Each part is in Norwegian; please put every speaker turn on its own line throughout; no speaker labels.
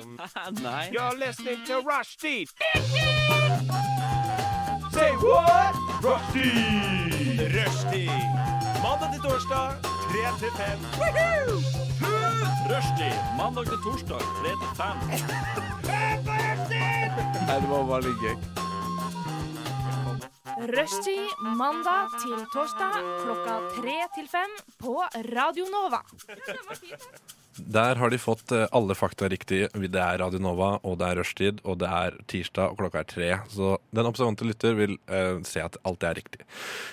som
Nei.
You're listening to Rushdie! Say what? Rushdie! Rushdie! Mandag til torsdag, 3 til 5. Rushdie! Mandag til torsdag, 3 til 5.
Nei, det var bare litt gøy.
Rushtid mandag til torsdag klokka tre til fem på Radio Nova.
Der har de fått eh, alle fakta riktig. Det er Radio Nova, og det er rushtid, og det er tirsdag, og klokka er tre. Så den observante lytter vil eh, se at alt er riktig.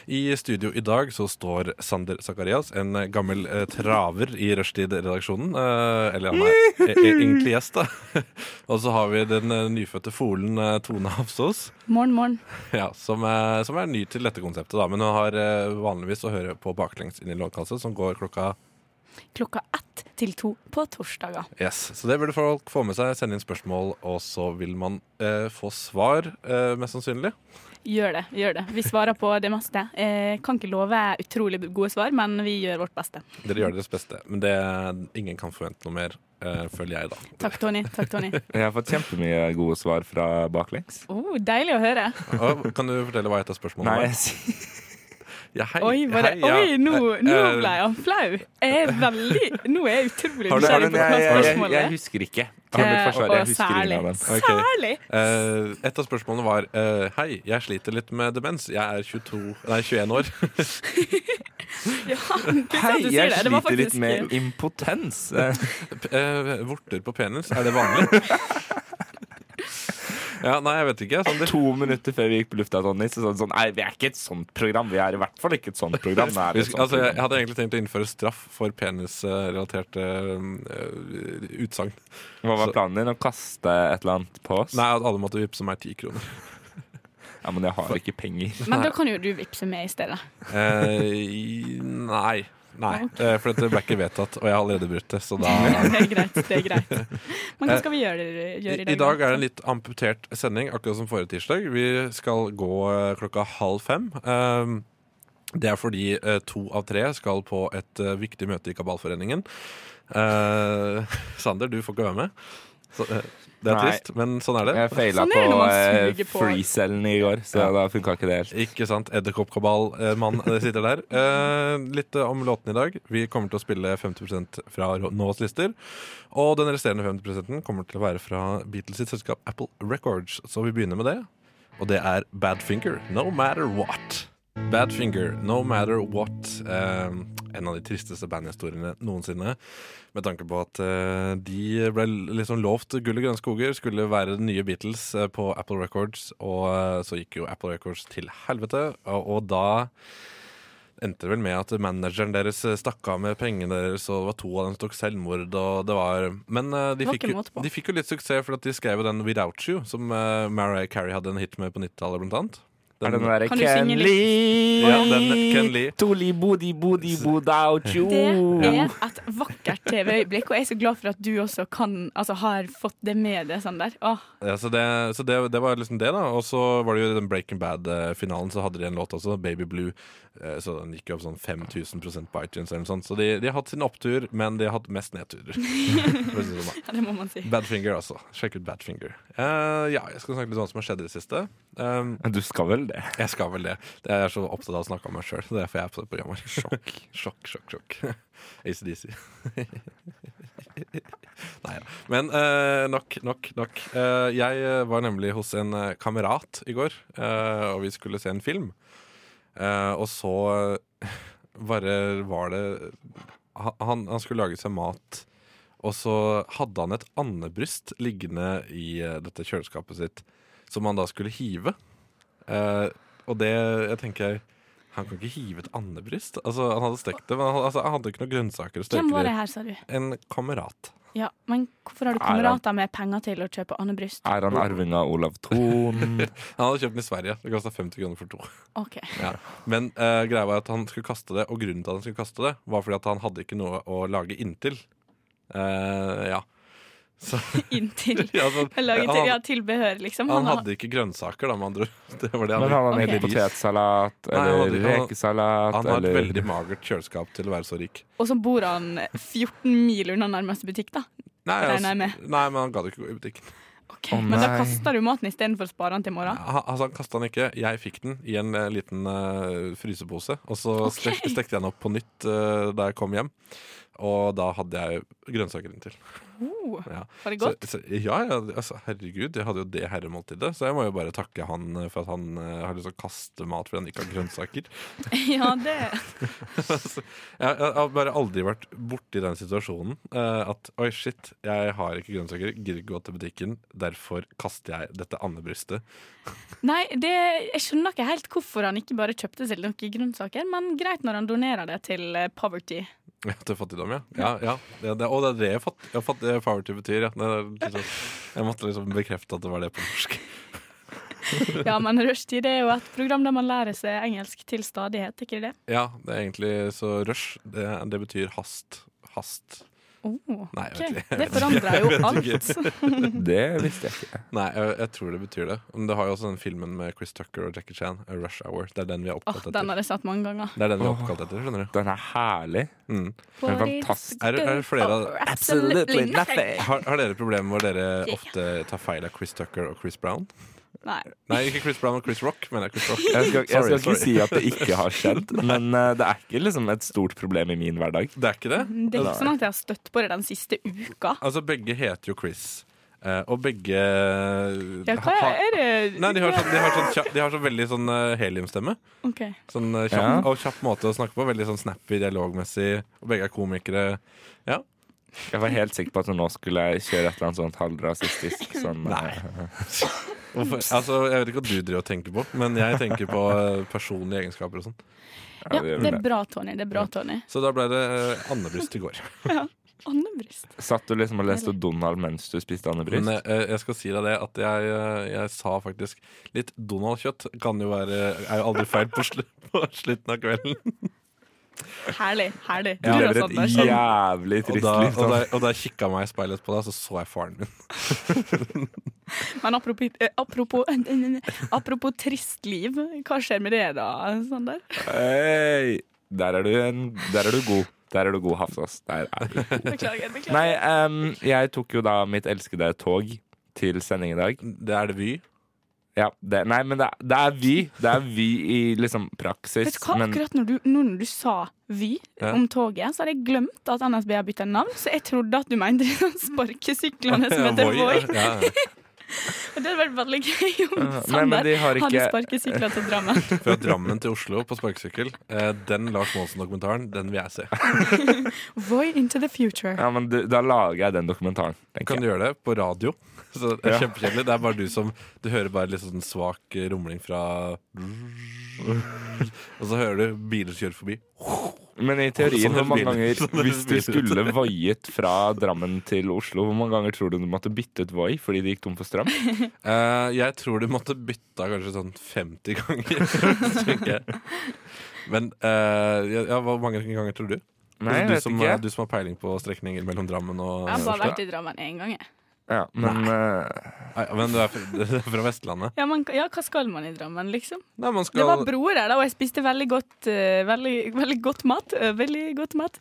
I studio i dag så står Sander Sakarias, en eh, gammel eh, traver i rushtid-redaksjonen. Eh, eller han er e- e- egentlig gjest, da. og så har vi den eh, nyfødte folen eh, Tone Hafsås.
Morgen, morgen.
Ja, som er, som er ny til dette konseptet, da. Men hun har eh, vanligvis å høre på baklengs inn i låtkassa, som går klokka
Klokka ett til to på torsdager.
Yes, Så det burde folk få med seg. Sende inn spørsmål, og så vil man eh, få svar, eh, mest sannsynlig.
Gjør det, gjør det. Vi svarer på det meste. Eh, kan ikke love utrolig gode svar, men vi gjør vårt beste.
Dere gjør deres beste. Men det, ingen kan forvente noe mer, eh, føler jeg, da.
Takk, Tony. Takk, Tony.
Jeg har fått kjempemye gode svar fra baklengs.
Oh, deilig å høre.
Og, kan du fortelle hva et av spørsmålene
Nei,
var?
jeg sier
Ja, hei,
Oi, var det,
hei, ja.
oi nå,
Eh,
nå
eh,
ble han flau. Jeg er veldig, nå er jeg utrolig
Har du-
Har du
nysgjerrig på hva
en- jeg, jeg, jeg,
spørsmålet
jeg
er.
husker ikke. Til mitt
Eh,
forsvar, jeg
og
husker ingen av dem.
Ok.
Særlig.
eh, et av spørsmålene var eh, Hei, jeg sliter litt med demens. Jeg er 22, nei, 21 år.
Ja, fint
Hei,
at du sier
jeg
det. Det var
sliter litt
faktisk-
med impotens.
P- eh, vorter på penis, er det vanlig? ja, nei, jeg vet ikke. Sånn Sander.
To minutter før vi gikk på lufta, Tony, så sånn, sånn Nei, vi er ikke et sånt program. Vi er i hvert fall ikke et sånt program. Vi er
Vi
et
sk-
sånt
altså, jeg, jeg
program.
hadde egentlig tenkt å innføre straff for penisrelaterte uh, utsagn.
Hva var planen din? Å kaste et eller annet på oss?
Nei, at alle måtte vippse meg ti kroner.
Ja, men jeg har ikke penger.
Men da kan jo du vippse med i stedet.
Eh, nei. Nei, eh, for dette ble ikke vedtatt, og jeg har allerede brutt det. Så da
Det er greit. det er greit. Men
Eh,
hva skal vi gjøre, gjøre i dag?
I dag er det en litt amputert sending, akkurat som forrige tirsdag. Vi skal gå eh, klokka halv fem. Ehm, Det er fordi eh, to av tre skal på et eh, viktig møte i Kabalforeningen. Eh, Sander, du får ikke være med. Så, eh, det er
Nei.
trist, men sånn er det.
Jeg feila
Sånn er det
på
når man
eh,
suger på-
freecellen i går, så da funka ikke det helt.
Ikke sant. Edderkoppkabal-mann eh, sitter der. Eh, litt eh, om låtene i dag. Vi kommer til å spille 50 fra Rå- Nås lister. Og den resterende 50 kommer til å være fra Beatles sitt selskap Apple Records. Så vi begynner med det. Og det er Badfinger, No Matter What. Badfinger, No Matter What. Eh, en av de tristeste bandhistoriene noensinne. Med tanke på at eh, de ble liksom lovt gull og grønne skoger, skulle være den nye Beatles eh, på Apple Records, og eh, så gikk jo Apple Records til helvete, og, og da endte det vel med at manageren deres eh, stakk av med pengene deres, og det var to av dem som tok selvmord, og det var Men eh, de,
Det var
fikk
ikke
jo,
måte på.
de fikk jo litt suksess, for at de skrev jo den Without You, som eh, Mariah Carey hadde en hit med på 90-tallet, blant annet.
Er det den derre
Kan du synge
Ken
litt?
Lee?
Ja, den Ken Lee.
Toli bodi bodi bodau tjo. Oh.
Det er et vakkert TV-øyeblikk, og jeg er så glad for at du også kan, altså, har fått det med deg, Sander. Åh,
Ja, så det, så det, det var liksom det, da. Og så var det jo den Breaking Bad-finalen, så hadde de en låt også, Baby Blue. Eh, Så den gikk jo opp sånn 5000 på iTunes eller noe sånt. Så de, de har hatt sin opptur, men de har hatt mest nedturer. For å si det sånn, da.
ja, det må man si.
Badfinger, altså. Sjekk ut Badfinger. Eh, ja, jeg skal snakke litt om hva som har skjedd i det siste. Um,
Du skal vel det?
jeg skal vel det. Jeg er så opptatt av å snakke om meg sjøl. Det er derfor jeg er på det programmet. Sjokk, sjokk, sjokk. sjokk. ACDC. Nei da. Men eh, nok, nok, nok. Eh, jeg eh, var nemlig hos en eh, kamerat i går, eh, og vi skulle se en film. Eh, og så eh, bare var det ha- han, han skulle lage seg mat, og så hadde han et andebryst liggende i eh, dette kjøleskapet sitt, som han da skulle hive. Eh, og det jeg tenker Han kan ikke hive et andebryst. Altså, han hadde stekt det, men han, altså, han hadde jo ikke noen grønnsaker å steke
Hvem var det
i.
her, sa du?
En kamerat.
Ja, men hvorfor har du
Er han-
kamerater med penger til å kjøpe andebryst?
Er han arving av Olav Thon?
Han hadde kjøpt den i Sverige. Det kosta 50 kroner for to.
OK.
Men eh, greia var at han skulle kaste det, og grunnen til at han skulle kaste det, var fordi at han hadde ikke noe å lage inntil. Eh, ja. Så,
Inntil
ja, så,
Laget
han,
til, ja, tilbehør, liksom.
han
har-
hadde ikke grønnsaker, da, med andre ord. Det var det
Men
han,
hadde han
Ok.
ikke potetsalat
Nei, han
eller
hadde- han-
rekesalat?
han har et
eller-
veldig magert kjøleskap til å være så rik.
Og så bor han 14 mil unna nærmeste butikk, da.
Nei, altså,
Regner jeg med.
nei, men han gadd ikke gå i butikken.
Ok,
Å,
Men da
nei.
kaster du maten istedenfor å spare den til i morgen?
Ha- Altså, han kasta den ikke. Jeg fikk den i en eh, liten eh, frysepose. Og så stek, stekte jeg den opp på nytt eh, da jeg kom hjem. Og da hadde jeg grønnsaker inntil.
Oh,
Ja.
var det
Så,
godt?
så, ja, ja, altså, herregud, jeg hadde jo det herremåltidet, så jeg må jo bare takke han eh, for at han eh, har lyst til å kaste mat fordi han ikke har grønnsaker.
Ja, det
Altså, jeg, jeg har bare aldri vært borti den situasjonen. eh, at oi, shit, jeg har ikke grønnsaker, gidder ikke gå til butikken, derfor kaster jeg dette andebrystet.
Nei, det, jeg skjønner ikke helt hvorfor han ikke bare kjøpte seg noen grønnsaker, men greit når han donerer det til eh, Poverty.
Ja, til fattigdom, ja. ja, ja. Det, det, og det er det jeg fatt, jeg fatt, eh, poverty betyr. Ja. Det, er liksom, jeg måtte liksom bekrefte at det var det på norsk.
Ja, men Rushdie det er jo et program der man lærer seg engelsk til stadighet, ikke det?
Ja, det er egentlig så rush. Det, det betyr hast. Hast.
Oh,
Nei, jeg
ok.
vet ikke. Jeg
Det
vet
forandrer jo
ikke.
alt.
Det visste jeg ikke.
Nei, jeg, jeg tror det betyr det. Men det har jo også den filmen med Chris Tucker og Jackie Chan, A Rush Hour. Det er den vi er
Åh,
oppkalt
den
etter.
har jeg sett mange ganger.
Det er den vi er oppkalt etter, skjønner du.
Den er herlig.
Mm.
Den er fantastisk.
Er, er det flere av
Absolutely nothing.
har, har dere problemer hvor dere ofte tar feil av Chris Tucker og Chris Brown?
Nei.
Nei, ikke Chris Brown og Chris Rock, men det er Chris Rock.
Jeg skal, jeg skal
Sorry,
ikke si at det ikke har skjedd, men eh, det er ikke liksom et stort problem i min hverdag.
Det er ikke det?
Det er ikke sånn at jeg har støtt på det den siste uka.
Altså, begge heter jo Chris. eh, og begge
Ja, hva
ha-
er det?
Nei, de har sånn, de har sånn, kjapp, de har sånn veldig sånn eh, heliumstemme.
Ok.
Sånn eh, kjapp,
Ja.
Og kjapp måte å snakke på. Veldig sånn snappy dialogmessig. Og begge er komikere.
Jeg var helt sikker på at nå skulle jeg kjøre et eller annet sånt halvrasistisk sånn eh,
Hvorfor? Altså, Jeg vet ikke hva du driver og tenker på, men jeg tenker på eh, personlige egenskaper og sånn.
Ja, det er bra, Tony. Det er bra, Tony.
Så da ble det eh, andebryst i går.
Andebryst.
Satt du liksom og leste Donald mens du spiste andebryst?
Men eh, jeg skal si deg det at jeg, eh, jeg sa faktisk litt Donald-kjøtt kan jo være Er jo aldri feil på, slu, på slutten av kvelden.
Herlig. Herlig.
Du
Du
lever
også,
et
Anders.
jævlig
Og
trist
da,
liv.
og da,
Sånn.
og da kikka meg i speilet på deg, så så jeg faren min.
Men apropos, eh, apropos, apropos trist liv, hva skjer med det da, Sander?
Hei! Der er du en Der er du god. Der er du god, Hafsås. Der er du.
Beklager. beklager.
Nei, em, jeg tok jo da mitt elskede tog til sending i dag.
Det er det Vy.
Ja, det, nei, men det, er- det er vi. Det er vi i liksom
Vet
praksis.
du hva,
Men
akkurat når du, nå når du sa Vy
Ja.
om toget, så hadde jeg glemt at NSB har bytta navn. Så jeg trodde at du mente de sånn sparkesyklene som heter Voi.
Voi, ja, ja.
Og det hadde vært veldig gøy om
Nei, men
Sander
de har
hadde
ikke-
sparkesykler til Drammen.
Fra Drammen til Oslo på sparkesykkel. Eh, Den Lars Monsen-dokumentaren den vil jeg se.
Voi into the future.
Ja, men du, da lager jeg den dokumentaren. tenker
Kan
jeg.
du gjøre det på radio? Så det er
Ja.
Kjempekjedelig. Det er bare du som Du hører bare litt sånn svak eh, rumling fra Og så hører du biler kjøre forbi.
Men i teorien,
Sånn
hvor mange
biler-
ganger
sånn
hvis du
biler-
skulle voiet fra Drammen til Oslo, hvor mange ganger tror du du måtte bytte ut voi fordi det gikk tom for strøm?
Eh, Jeg tror du måtte bytta kanskje sånn 50 ganger. tenker jeg. Men eh, ja, ja, hvor mange ganger tror du?
Nei, jeg
du,
vet
som,
ikke.
eh, du som har peiling på strekninger mellom Drammen og
Jeg har bare
Oslo.
vært i Drammen én gang, jeg.
Ja, men eh,
Nei, men du er fra, du er fra Vestlandet?
Ja, men, ja, hva skal man i Drammen, liksom?
Nei, man
Det var
skal
broer der, da, og jeg spiste veldig godt, eh, veldig, veldig godt mat. eh, veldig godt mat.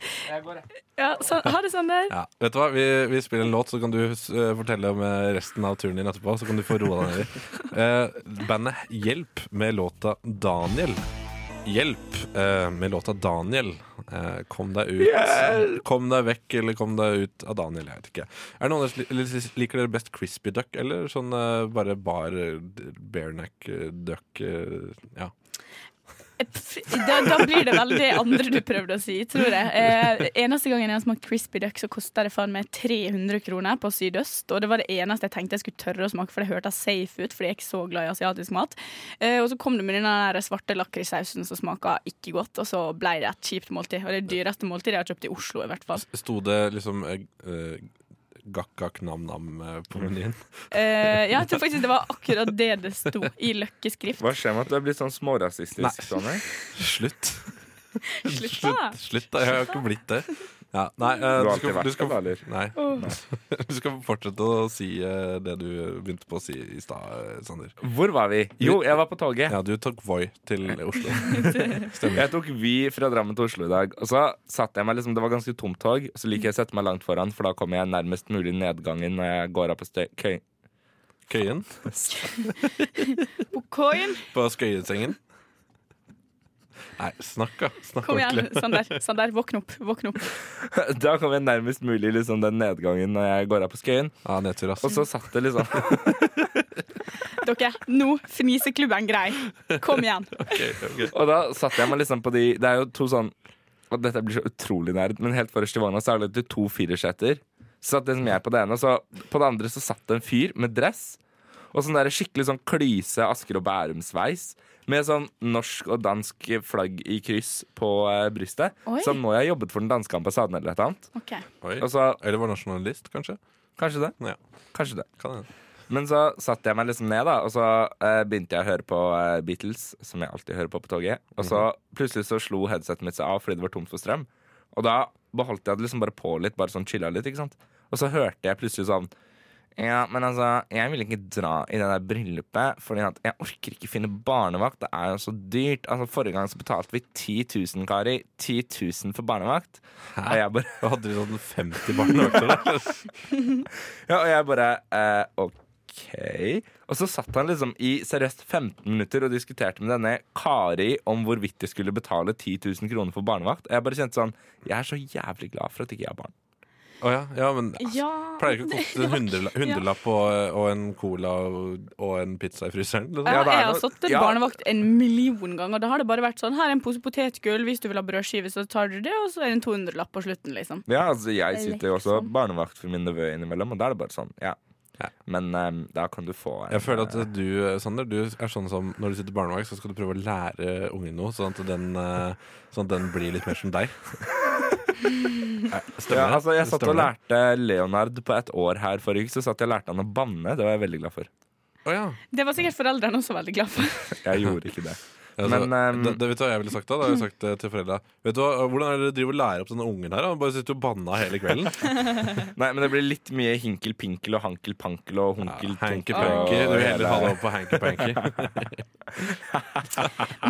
Ja, så, ha det, Sander.
ja, Vet du hva, vi, vi spiller en låt, så kan du eh, fortelle om eh, resten av turen din etterpå. Så kan du få roa deg ned. Eh, bandet Hjelp med låta 'Daniel'. Hjelp eh, med låta 'Daniel'. Eh, kom deg ut. Kom deg vekk, eller kom deg ut av Daniel. Jeg vet ikke. Er det noen av dere som li- Liker dere best crispy duck, eller sånn eh, bare bar eh, bareneck eh, duck? eh, ja.
Eh, pff, Da, da blir det vel det andre du prøvde å si, tror jeg. Eh, eneste gangen jeg har smakt crispy duck, så kosta det faen meg 300 kroner på Sydøst. Og det var det eneste jeg tenkte jeg skulle tørre å smake, for det hørtes safe ut, fordi jeg er ikke så glad i asiatisk mat. Eh, og så kom det med den der svarte lakrissausen som smaka ikke godt, og så ble det et kjipt måltid. Og det er det dyreste måltidet jeg har kjøpt i Oslo, i hvert fall.
Sto det liksom eh, eh, gakk-gakk-nam-nam eh, på menyen?
Eh, ja, jeg tror faktisk det var akkurat det det sto i Løkkeskrift.
hva skjer med at du er blitt sånn
Nei.
smårasistisk? Sånn,
Slutt.
Slutt, da.
Slutt, da. Jeg har ikke blitt det. Ja, nei, eh,
Du
du,
har alltid
skal,
vært
du, skal,
det, eller?
nei. du skal fortsette å si eh, det du begynte på å si i stad, eh, Sander.
Hvor var vi? Jo, jeg var på toget.
Ja, du tok Voi til Oslo.
Jeg tok Vy fra Drammen til Oslo i dag. Og så satte jeg meg liksom, Det var ganske tomt tog, så liker jeg å sette meg langt foran, for da kommer jeg nærmest mulig nedgangen når jeg går av på stø køy.
Køyen.
På Koien.
På Skøyesengen. Nei, snakk, da. Snakk
Kom igjen,
ordentlig.
Sander. Sander, våkn opp. Våkn opp.
Da kommer jeg nærmest mulig liksom, den nedgangen når jeg går av på Skøyen.
Ja, nedtur, ass.
Og så satt det liksom
Dere, nå fniseklubben grei. Kom igjen.
Ok, ok.
Og da satte jeg meg liksom på de Det er jo to sånn Og dette blir så utrolig nerd, men helt forrest i vogna så er det to fireseter. Så satt liksom jeg på det ene, og så på det andre så satt det en fyr med dress. Og sånn der skikkelig sånn klyse Asker og Bærum-sveis. Med sånn norsk og dansk flagg i kryss på eh, brystet.
Oi.
Så han må jo ha jobbet for den danske ambassaden eller et eller annet.
Ok.
Oi.
Og så,
Eller var nasjonalist, kanskje.
kanskje det,
Ja,
kanskje det.
kan hende.
Men så satte jeg meg liksom ned, da, og så eh, begynte jeg å høre på eh, Beatles, som jeg alltid hører på på toget. Og så plutselig så slo headsetet mitt seg av fordi det var tomt for strøm. Og da beholdt jeg det liksom bare på litt, bare sånn chilla litt, ikke sant. Og så hørte jeg plutselig sånn ja, men altså, jeg vil ikke dra i det der bryllupet, Fordi at jeg orker ikke finne barnevakt. Det er jo så dyrt. Altså, Forrige gang så betalte vi 10 000, Kari. 10 000 for barnevakt. Og jeg bare
Da hadde de sånn 50 barn i vakter.
Ja, og jeg bare eh, OK. Og så satt han liksom i seriøst 15 minutter og diskuterte med denne Kari om hvorvidt de skulle betale 10 000 kroner for barnevakt. Og jeg bare kjente sånn Jeg er så jævlig glad for at ikke jeg har barn.
Å ja, ja, men ass,
Ja
pleier ikke å koste en hundrela- hundrelapp og, og en cola og, og en pizza i fryseren. Liksom.
Ja,
det er
jeg har
noe-
satt en
ja.
barnevakt en million ganger. Da har det bare vært sånn Her er en pose potetgull. Hvis du vil ha brødskive, så tar du det, og så er det en 200-lapp på slutten, liksom.
Ja, altså Jeg sitter jo også
Liksom.
barnevakt for min nevø innimellom, og da er det bare sånn. Ja.
Ja.
Men eh, da kan du få en,
Jeg føler at du, Sander, du er sånn som når du sitter i barnehage, så skal du prøve å lære ungen noe, sånn at den, eh, sånn at den blir litt mer som deg. Eh,
ja,
Stemmer det?
altså, Jeg satt og
Stemmer
lærte Leonard på et år her forrige uke, så satt jeg og lærte han å banne. Det var jeg veldig glad for.
det? Å ja.
Det var sikkert foreldrene også veldig glad for.
Jeg gjorde ikke det.
Altså,
Men, ehm,
det, det vet du hva jeg ville sagt da? Da har jeg sagt eh, til foreldra Vet du hva, Hvordan er det dere driver og lærer opp denne ungen her? da? Han bare sitter og banna hele kvelden.
Nei, men det blir litt mye hinkel-pinkel og hankel-pankel og honkel
Hanky
tonkel
panky. Du
og
vil heller ha det
hele-
over på hanky panky.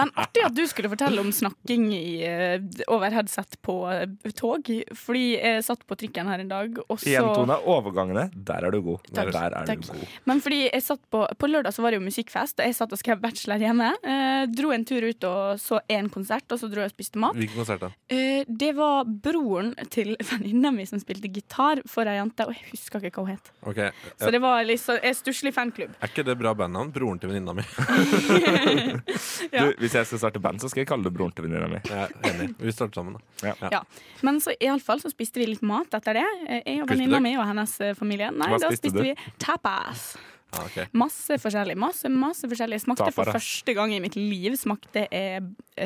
Men artig at du skulle fortelle om snakking i, eh, over headset på eh, tog. Fordi jeg satt på trikken her en dag, og så
Igjen, Tone, overgangene, der er du god.
Takk.
Der er
Takk.
du god.
Men fordi jeg satt på, på lørdag så var det jo musikkfest, og jeg satt og skrev bachelor hjemme. Eh, dro en tur ut og så én konsert, og så dro jeg og spiste mat.
Hvilken konsert da?
Eh, det var broren til venninna mi som spilte gitar for ei jente, og jeg husker ikke hva hun het.
Ok, Er
Så det var liksom en stusslig fanklubb.
ikke det bra bandnavn? Broren til venninna mi.
Ja.
Du, hvis jeg skal starte band, så skal jeg kalle det broren til venninna mi.
Jeg er enig. Vi starter sammen, da.
Ja. Men så iallfall så spiste vi litt mat etter det. Eh, Jeg og venninna
Spiste dere?
mi og hennes eh, familie. Nei,
Hva
da
spiste
spiste
du?
vi tapas.
Ja, ok.
Masse forskjellig. Masse, masse forskjellig. Jeg Smakte for
Tapas.
første gang i mitt liv smakte jeg eh,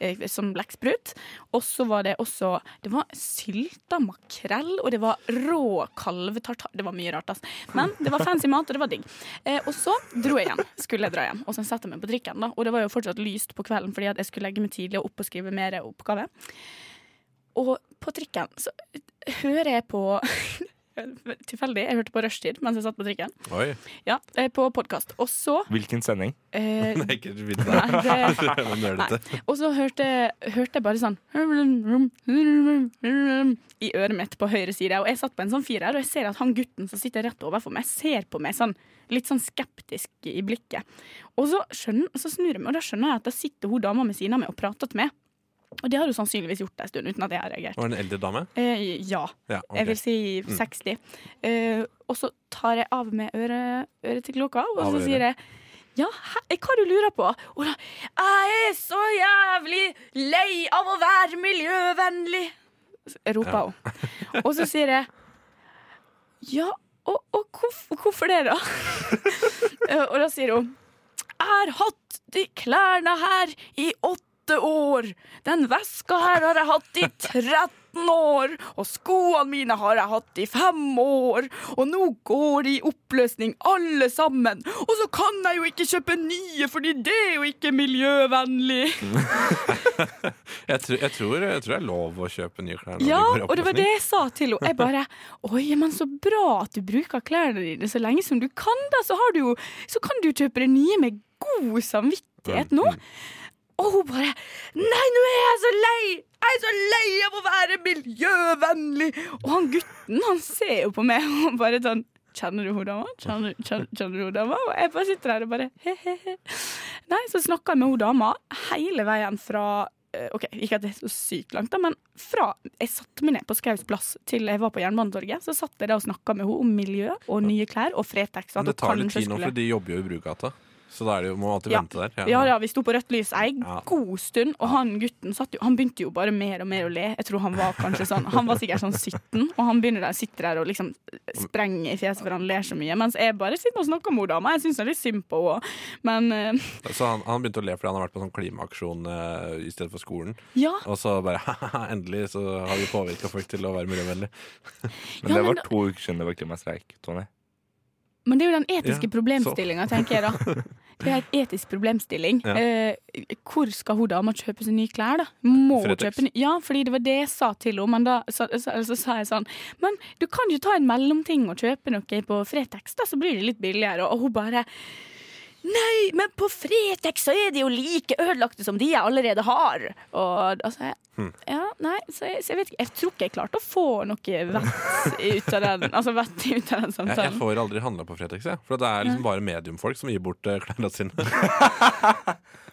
eh, som blekksprut. Og så var det også Det var sylta makrell, og det var rå kalvetartar. Det var mye rart, ass. Men det var fancy mat, og det var digg. Eh, og så dro jeg hjem. Skulle jeg dra hjem. Og så satte jeg meg på trikken, da. Og det var jo fortsatt lyst på kvelden fordi at jeg skulle legge meg tidlig og opp og skrive mer oppgave. Og på trikken så hører jeg på Tilfeldig. Jeg hørte på rushtid mens jeg satt på trikken.
Oi.
Ja, eh, på podkast. Og så
Hvilken sending?
eh,
Nei, ikke vidd der.
Nei, det
Men nølete.
Og så hørte, hørte jeg bare sånn I øret mitt på høyre side. Og jeg satt på en sånn firer, og jeg ser at han gutten som sitter rett overfor meg, ser på meg sånn litt sånn skeptisk i blikket. Og så, skjønner, så snur jeg meg, og da skjønner jeg at da sitter hun dama ved siden av meg og prater til meg. Og det har hun sannsynligvis gjort en stund uten at jeg har reagert.
Var det en eldre dame?
Eh, ja.
Ja, ok. Mm.
Jeg vil si 60. Eh, og så tar jeg av meg øret, øret til klokka, og
Av
så
øret.
sier jeg ja, hæ, eh, hva du lurer på? Og da, jeg er så jævlig lei av å være miljøvennlig, så roper hun. Og så sier jeg ja, og, og hvorfor, hvorfor det, da? Eh, og da sier hun jeg har hatt de klærne her i åtte år. Den veska her har jeg hatt i 13 15 år, og skoene mine har jeg hatt i fem år, og nå går de i oppløsning alle sammen, og så kan jeg jo ikke kjøpe nye fordi det er jo ikke miljøvennlig.
Jeg, tror- jeg, tror, jeg tror det er lov å kjøpe nye klær. når
Ja,
går i
og det var
oppløsning.
det jeg sa til henne. Jeg bare Oi, men så bra at du bruker klærne dine så lenge som du kan, da. Så, har du jo, så kan du jo kjøpe deg nye med god samvittighet nå.
mm.
Og hun bare Nei, nå er jeg så lei! Jeg er så lei av å være miljøvennlig! Og han gutten, han ser jo på meg og bare sånn Kjenner du hun dama? Kjenner, kjenner, kjenner du hun dama? Og jeg bare sitter her og bare he-he-he. Nei, så snakka jeg med hun dama hele veien fra eh, Ok, ikke at det er så sykt langt, da, men fra jeg satte meg ned på Skaus plass til jeg var på Jernbanetorget, så satt jeg der og snakka med henne om miljø og nye klær og Fretex. og at
Men det
hun
tar litt
kanskje
tid nå,
skulle-
for de jobber jo i Brugata. Så da er det jo, må alltid
Ja.
vente der.
ja, ja, vi sto på rødt lys ei
Ja.
god stund, og han gutten satt jo, han begynte jo bare mer og mer å le. Jeg tror han var kanskje sånn, han var sikkert sånn 17, og han begynner der, sitter der og liksom sprenger i fjeset for han ler så mye, mens jeg bare sitter og snakker om henne, men jeg synes det er litt synd på henne. Men eh,
Så han, han begynte å le fordi han har vært på sånn klimaaksjon eh, i stedet for skolen.
ja,
Og så bare haha, endelig så har vi påvirka folk til å være miljøvennlig.
Men
Ja,
det
men
var
da-
to uker siden det var klimastreik, Tony.
men det er jo den etiske
Ja,
problemstillingen, tenker jeg da. Det er en etisk problemstilling.
Ja.
Eh, hvor skal hun dama kjøpe seg nye klær, da? Må hun
Fretex.
kjøpe nye? Ja, fordi det var det jeg sa til henne. Men da så, så, så sa jeg sånn Men du kan jo ta en mellomting og kjøpe noe på Fretex, da, så blir det litt billigere. Og hun bare Nei, men på Fretex så er de jo like ødelagte som de jeg allerede har. Og da sa jeg
Hmm.
Ja, nei, så jeg, så jeg vet ikke Jeg tror ikke jeg klarte å få noe vett ut av den, altså vett ut av
Jeg, jeg
den samtalen.
får aldri handla på Fretex, jeg. For det er liksom bare mediumfolk som gir bort eh, klærne sine.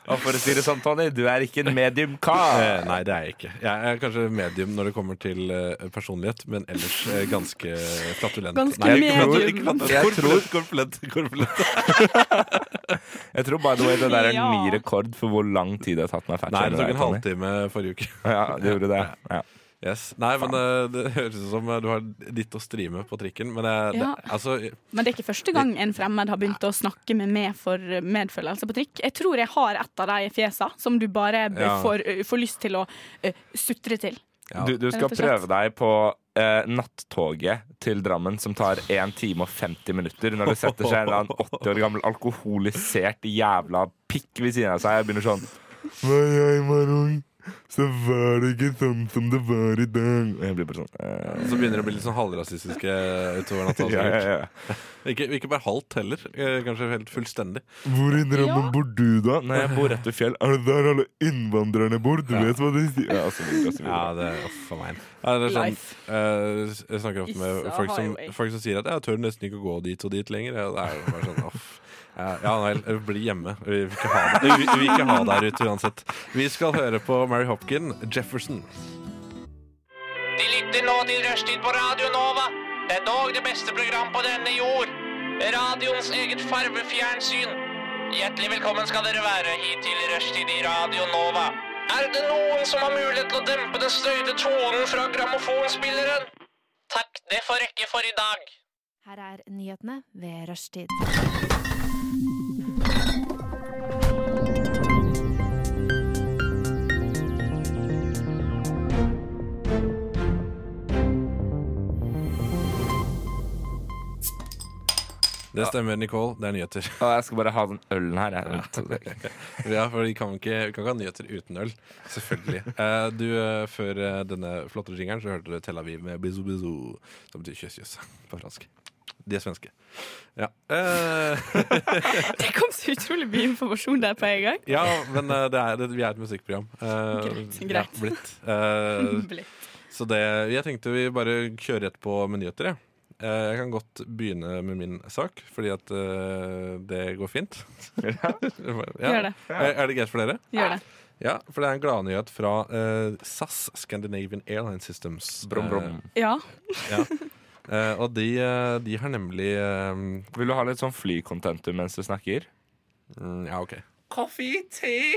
Og for å si det sånn, Tony, du er ikke en medium kar.
Eh, Nei, det er jeg ikke. Jeg er kanskje medium når det kommer til eh, personlighet, men ellers eh, ganske flatulent.
Ganske
Nei, ikke flatulent,
medium.
ikke flatulent.
Jeg tror-
Korpulent, korpulent, korpulent.
Jeg tror by the way det der er en
Ja.
ny rekord for hvor lang tid det har tatt meg å
Nei, det tok en
Tony.
halvtime forrige uke.
Ja, det gjorde det. Ja.
Yes. Nei, men eh, det høres ut som eh, du har ditt å streame på trikken. Men jeg,
Ja.
det, altså,
Men det er ikke første gang en fremmed har begynt å snakke med meg for medfølelse på trikk. Jeg tror jeg har et av de fjesa som du bare b-
Ja.
får, ø, får lyst til å ø, sutre til.
ja.
Du, du skal
Rett og slett.
prøve deg på eh, nattoget til Drammen, som tar 1 time og 50 minutter, når det setter seg en eller annen 80 år gammel alkoholisert jævla pikk ved siden av seg og begynner sånn Når jeg var ung, så var det ikke sånn som det var i dag. Og jeg blir bare sånn eh,
Så begynner det å bli litt sånn halvrasistiske utover natta.
ja,
sikkert.
ja, ja.
Ikke, ikke bare halvt heller. eh, Kanskje helt fullstendig.
Hvor i
Drammen Ja.
bor du, da? Nei, jeg bor rett ved fjell. Er det der alle innvandrerne bor? Du vet hva de sier? Ja, og så videre, og så videre.
Ja, det er for meg. Ja, det er sånn,
Life.
eh, jeg snakker ofte med
Issa
folk som,
highway.
folk som sier at jeg tør nesten ikke å gå dit og dit lenger. Ja, det er jo bare sånn, off. Ja, ja, nei, bli hjemme. Vi vil ikke ha deg, vi, vi vil ikke ha deg ute uansett. Vi skal høre på Mary Hopkin, Jefferson.
De lytter nå til Rushtid på Radio Nova. Det er dog det beste program på denne jord. Radioens eget farvefjernsyn. Hjertelig velkommen skal dere være hit til Rushtid i Radio Nova. Er det noen som har mulighet til å dempe den støyte tonen fra grammofonspilleren? Takk, det får rekke for i dag.
Her er nyhetene ved rushtid.
Det stemmer, Nicole. Det er nyheter.
Og jeg skal bare ha den ølen her. Jeg.
Ja, for vi kan ikke, vi kan ikke ha nyheter uten øl. Selvfølgelig. Eh, du, eh, Før eh, denne flotte jingeren så hørte du Tel Aviv med bizu bizu, som betyr kjøss kjøss på fransk. De er svenske. Ja, eh,
Det kom så utrolig mye informasjon der på en gang.
ja men eh, det er, det, vi er et musikkprogram. Eh,
Greit,
Ja,
greit.
blitt. Eh,
Blitt.
så det, jeg tenkte vi bare kjører rett på med nyheter. jeg. Eh, jeg kan godt begynne med min sak, fordi at eh, det går fint. Ja.
Gjør det.
Er, er det greit for dere?
Gjør det.
Ja, for det er en gladnyhet fra eh, SAS, Scandinavian Airline Systems.
Brom, brom.
Ja.
Eh, ja. Eh, og de, eh, de har nemlig eh,
Vil du ha litt sånn flykontentum mens du snakker?
mm, Ja, OK.
Coffee, tea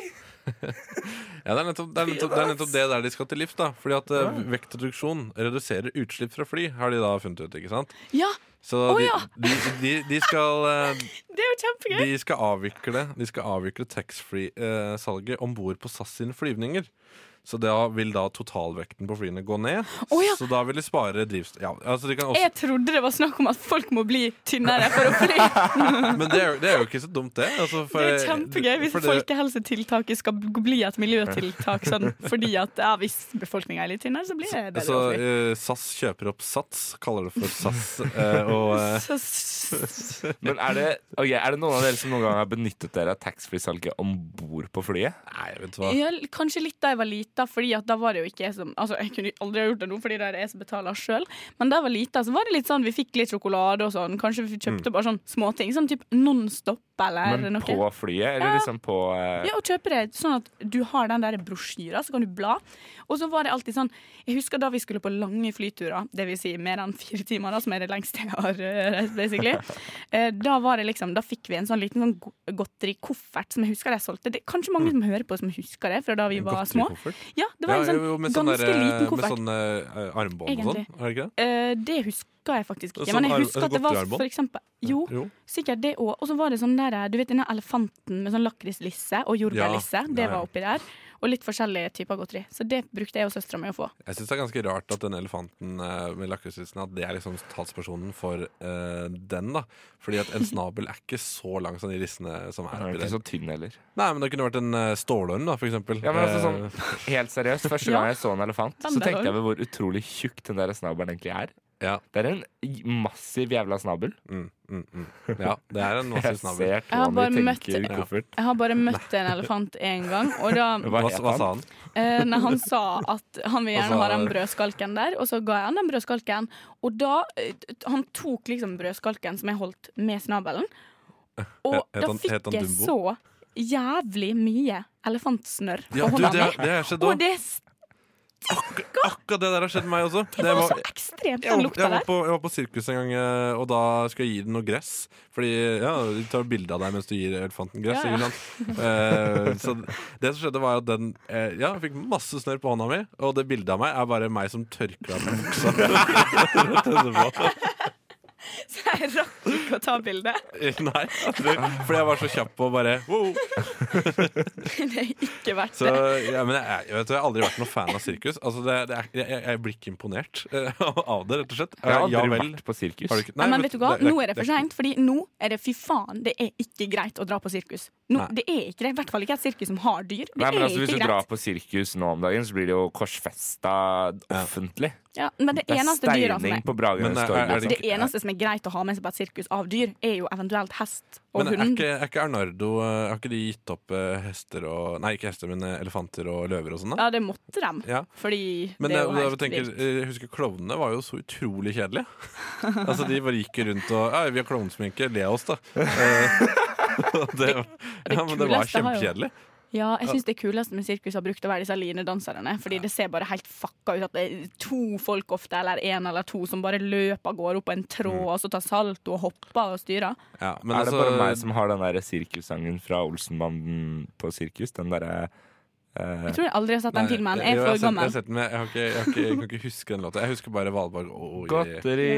Ja, det, er nettopp, det, er nettopp, det er nettopp det der de skal til livs. da Fordi at eh, vektreduksjon reduserer utslipp fra fly, har de da funnet ut. ikke sant?
ja.
Så
Å,
de,
ja.
de, de, de skal eh,
Det er jo kjempegøy.
De skal avvikle, de skal avvikle taxfree-salget om bord på SAS sine flyvninger. Så da vil da totalvekten på flyene gå ned.
Å, ja.
Så da vil de spare drivstoff ja, altså de kan også,
Jeg trodde det var snakk om at folk må bli tynnere for å fly.
Men det er, jo- det er jo ikke så dumt, det. Altså, for-
Det er kjempegøy hvis
for det-
folkehelsetiltaket skal bli et miljøtiltak sånn, fordi at ja, hvis befolkninga er litt tynnere, så blir det bedre
Altså,
å fly.
eh, SAS kjøper opp Sats, kaller det for SAS. eh, og eh,
Så s-
Men er det, ok, er det noen av dere som noen gang har benyttet dere av taxfree-salget om bord på flyet?
Nei, vet du hva.
ja, kanskje litt da jeg var lita, Fordi at da var det jo ikke jeg som Altså, jeg kunne aldri ha gjort det nå, fordi det er det jeg som betaler sjøl. Men da jeg var lita, så var det litt sånn vi fikk litt sjokolade og sånn. Kanskje vi kjøpte bare sånn småting. Sånn typ Nonstop eller
Mm. Men
noe.
på flyet, eller liksom på eh,
Ja, og kjøpe det sånn at du har den der brosjyra, så kan du bla. Og så var det alltid sånn Jeg husker da vi skulle på lange flyturer, det vil si mer enn fire timer, da, som er det lengste jeg har eh, reist, basically. Eh, Da var det liksom Da fikk vi en sånn liten sånn go- godterikoffert som jeg husker jeg solgte. Det er kanskje
Mm.
mange som hører på som husker det fra da vi var små.
Godterikoffert?
Ja, det var en sånn
jo, med sånn
ganske
der, eh,
liten
Med
koffert.
sånn eh, armbånd og sånn,
Egentlig.
er det ikke det?
Eh, Det husker jeg faktisk ikke,
Sånn
men
arm-
jeg husker at det var
godteriarmbånd?
for eksempel Jo,
Jo.
Sikkert det òg. Og så var det sånn der, du vet den der elefanten med sånn lakrislisse og jordbærlisse.
Ja,
Det
ja, ja.
var oppi der. Og litt forskjellige typer godteri. Så det brukte jeg og søstera mi å få.
Jeg syns det er ganske rart at den elefanten eh, med lakrisisen At det er liksom talspersonen for eh, den. da Fordi at en snabel er ikke så lang som de rissene som er
Den er
oppi der.
ikke så tynn heller.
Nei, men det kunne vært en eh, stålorm, da, for eksempel.
Ja, men altså sånn,
Eh,
Helt seriøst, første
Ja.
gang jeg så en elefant,
Den
så
der var-
tenkte jeg ved hvor utrolig tjukk den der snabelen egentlig er.
Ja.
Det er en j- massiv jævla snabel.
mm, mm, mm. ja, det er en massiv
Jeg
snabel.
ser
har bare
Tony
møtt-
tenker koffert.
Jeg har bare møtt en elefant én gang, og da
Hva
Hva,
het
hva sa han?
han?
eh, Når han sa at han vil gjerne
Altså-
ha den brødskalken der, og så ga jeg han den brødskalken. Og da eh, t- Han tok liksom brødskalken som jeg holdt med snabelen, og
Het
da
han- het
fikk
han
jeg så
Dumbo?
jævlig mye elefantsnørr
Ja,
på
du,
hånda
det,
mi.
det har skjedd
Og
òg.
det
Akkurat det der har skjedd meg også. Det
var
var-
så ekstremt
Jeg
den
var,
lukta
jeg, var
der.
på, jeg var på sirkus en gang, eh, og da skulle jeg gi den noe gress. Fordi ja, de tar bilde av deg mens du gir elefanten gress.
Ja, ja.
ikke sant? Eh, så det som skjedde, var at den eh, Ja, jeg fikk masse snørr på hånda mi, og det bildet av meg er bare meg som tørker av meg buksa. Rett etterpå.
Så jeg rakk ikke å ta bilde.
Nei, jeg tror, fordi jeg var så kjapp og bare wow.
Det er ikke verdt
Så
det.
ja, men jeg, er- jeg, vet, du, jeg har aldri vært noen fan av sirkus. Altså, det, det er, jeg, jeg blir ikke imponert eh, av det, rett og slett. Eh,
Jeg har aldri
Ja vel.
vært på sirkus.
Har du ikke-
Nei, men vet du hva,
det- det-
nå er det for seint, Fordi nå er det fy faen, det er ikke greit å dra på sirkus. Nå,
Nei.
det er ikke det, I hvert fall ikke et sirkus som har dyr. Det
Nei, men
er
altså, Hvis
ikke
du drar
greit.
på sirkus nå om dagen, så blir det jo korsfesta offentlig.
Ja, men det,
Det er
eneste dyra som
steining
er
på Bragernes
Men er-
torg.
er det
liksom.
det eneste som er greit å ha med seg på et sirkus av dyr, er jo eventuelt hest og
Men er
hund.
ikke, er ikke Arnardo eh, Har ikke de gitt opp eh, hester og Nei, ikke hester, men eh, elefanter og løver og sånn? da?
Ja, det måtte dem.
Ja.
Fordi
Men
det er
jeg,
jo
jeg,
helt
tenker, eh,
vilt.
jeg husker klovnene var jo så utrolig kjedelige. altså De bare gikk rundt og Ja, vi har klovnesminke, le av oss, da. Eh, og det, ja, men det var
kuleste har jo-
kjempekjedelig.
Ja, jeg syns det kuleste med sirkus har brukt å være disse linedanserne. Fordi det ser bare helt fucka ut at det er to folk ofte, eller én eller to, som bare løper av gårde opp på en tråd, og så tar salto og hopper og styrer.
Mm. Ja, men
er det
altså,
bare meg som har den der sirkussangen fra Olsenbanden på sirkus? Den derre eh,
Jeg tror jeg aldri har sett den
nei,
filmen.
det-
Jeg
jo,
er
har
for
sett- Jeg, har
gammel.
sett den, men jeg, har ikke, jeg, har ikke, jeg kan ikke huske den låta. Jeg husker bare Valborg og
Godteri.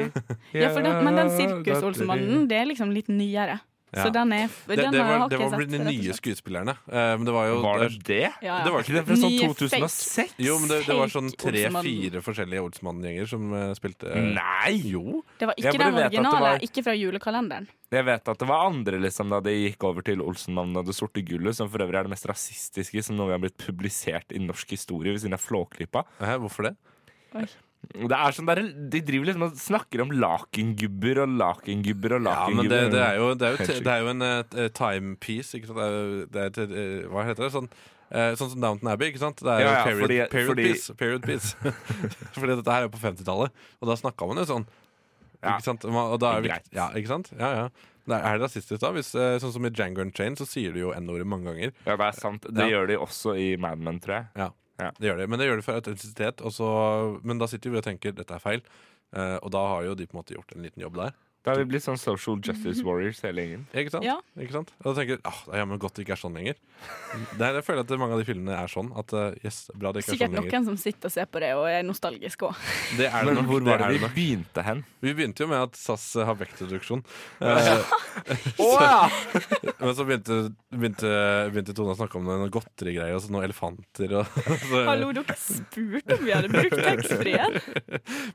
Ja, for den, men den
godteri.
sirkus-Olsenbanden, det er liksom litt nyere.
Ja.
Så den er
Det,
den
det
har
var,
jeg
det
ikke
var
sett,
de
rett og
nye
slett.
skuespillerne. Eh, Men det var jo
Var det det?
Ja,
Det
ja.
var
Ikke det fra sånn
Nye
2006?
Jo, men det, det var sånn
Fake Olsenmannen.
tre-fire forskjellige Olsenmannen-gjenger som eh, spilte eh,
Nei!
Jo.
Det var
Jeg
ikke
bare
den
vet at det
originale,
var-
ikke fra julekalenderen.
Jeg vet at det var andre liksom, da de gikk over til Olsenmannen og Det sorte gullet, som for øvrig er det mest rasistiske som noen gang har blitt publisert i norsk historie ved siden av Flåklypa.
Hæ, hvorfor det?
Det er sånn der, De driver liksom og snakker om lakengubber og lakengubber og
Ja, men det,
lakengubber.
det, er, jo, det, er, jo,
Helt
det er jo en eh, timepiece, ikke sant? Det er, jo- det er, et, eh, hva heter det? Sånn, eh, sånn som Downton Abbey, ikke sant? Det er jo
Ja, ja,
period,
fordi-
period
fordi-
piece. Period piece. fordi dette her er jo på 50-tallet, og da snakka man jo sånn.
Ja.
Ikke sant? Og da er
Det er
viktig, ja, ikke sant? Ja, ja. Nei, Er det rasistisk, da? Hvis, eh, sånn som i Jango and Chain, så sier du jo n-ordet mange ganger.
Ja, det er sant. Det
Ja.
gjør de også i Mad Men, tror jeg.
Ja,
Ja.
det gjør det. Men det gjør det for autentisitet. og så- Men da sitter vi og tenker dette er feil. Eh, og da har jo de på en måte gjort en liten jobb der.
Da har vi blitt sånn social
Mhm.
justice warriors hele gjengen.
Ikke sant?
Ja.
Ikke sant? Og da tenker jeg ah, det er jammen godt det ikke er sånn lenger. Det er, jeg føler at mange av de filmene er sånn. At eh, yes, bra det ikke er
Sikkert
sånn lenger.
noen som sitter og ser på det og er nostalgisk òg.
Det er det
Men
nok.
hvor
det
var
er
det
det
vi
nok.
begynte hen?
Vi begynte jo med at SAS har vektreduksjon. Eh, men så begynte, begynte, begynte Tone å snakke om noen godterigreier og så noen elefanter. Og, så,
Hallo, dere spurte om vi hadde brukt taxfree-en!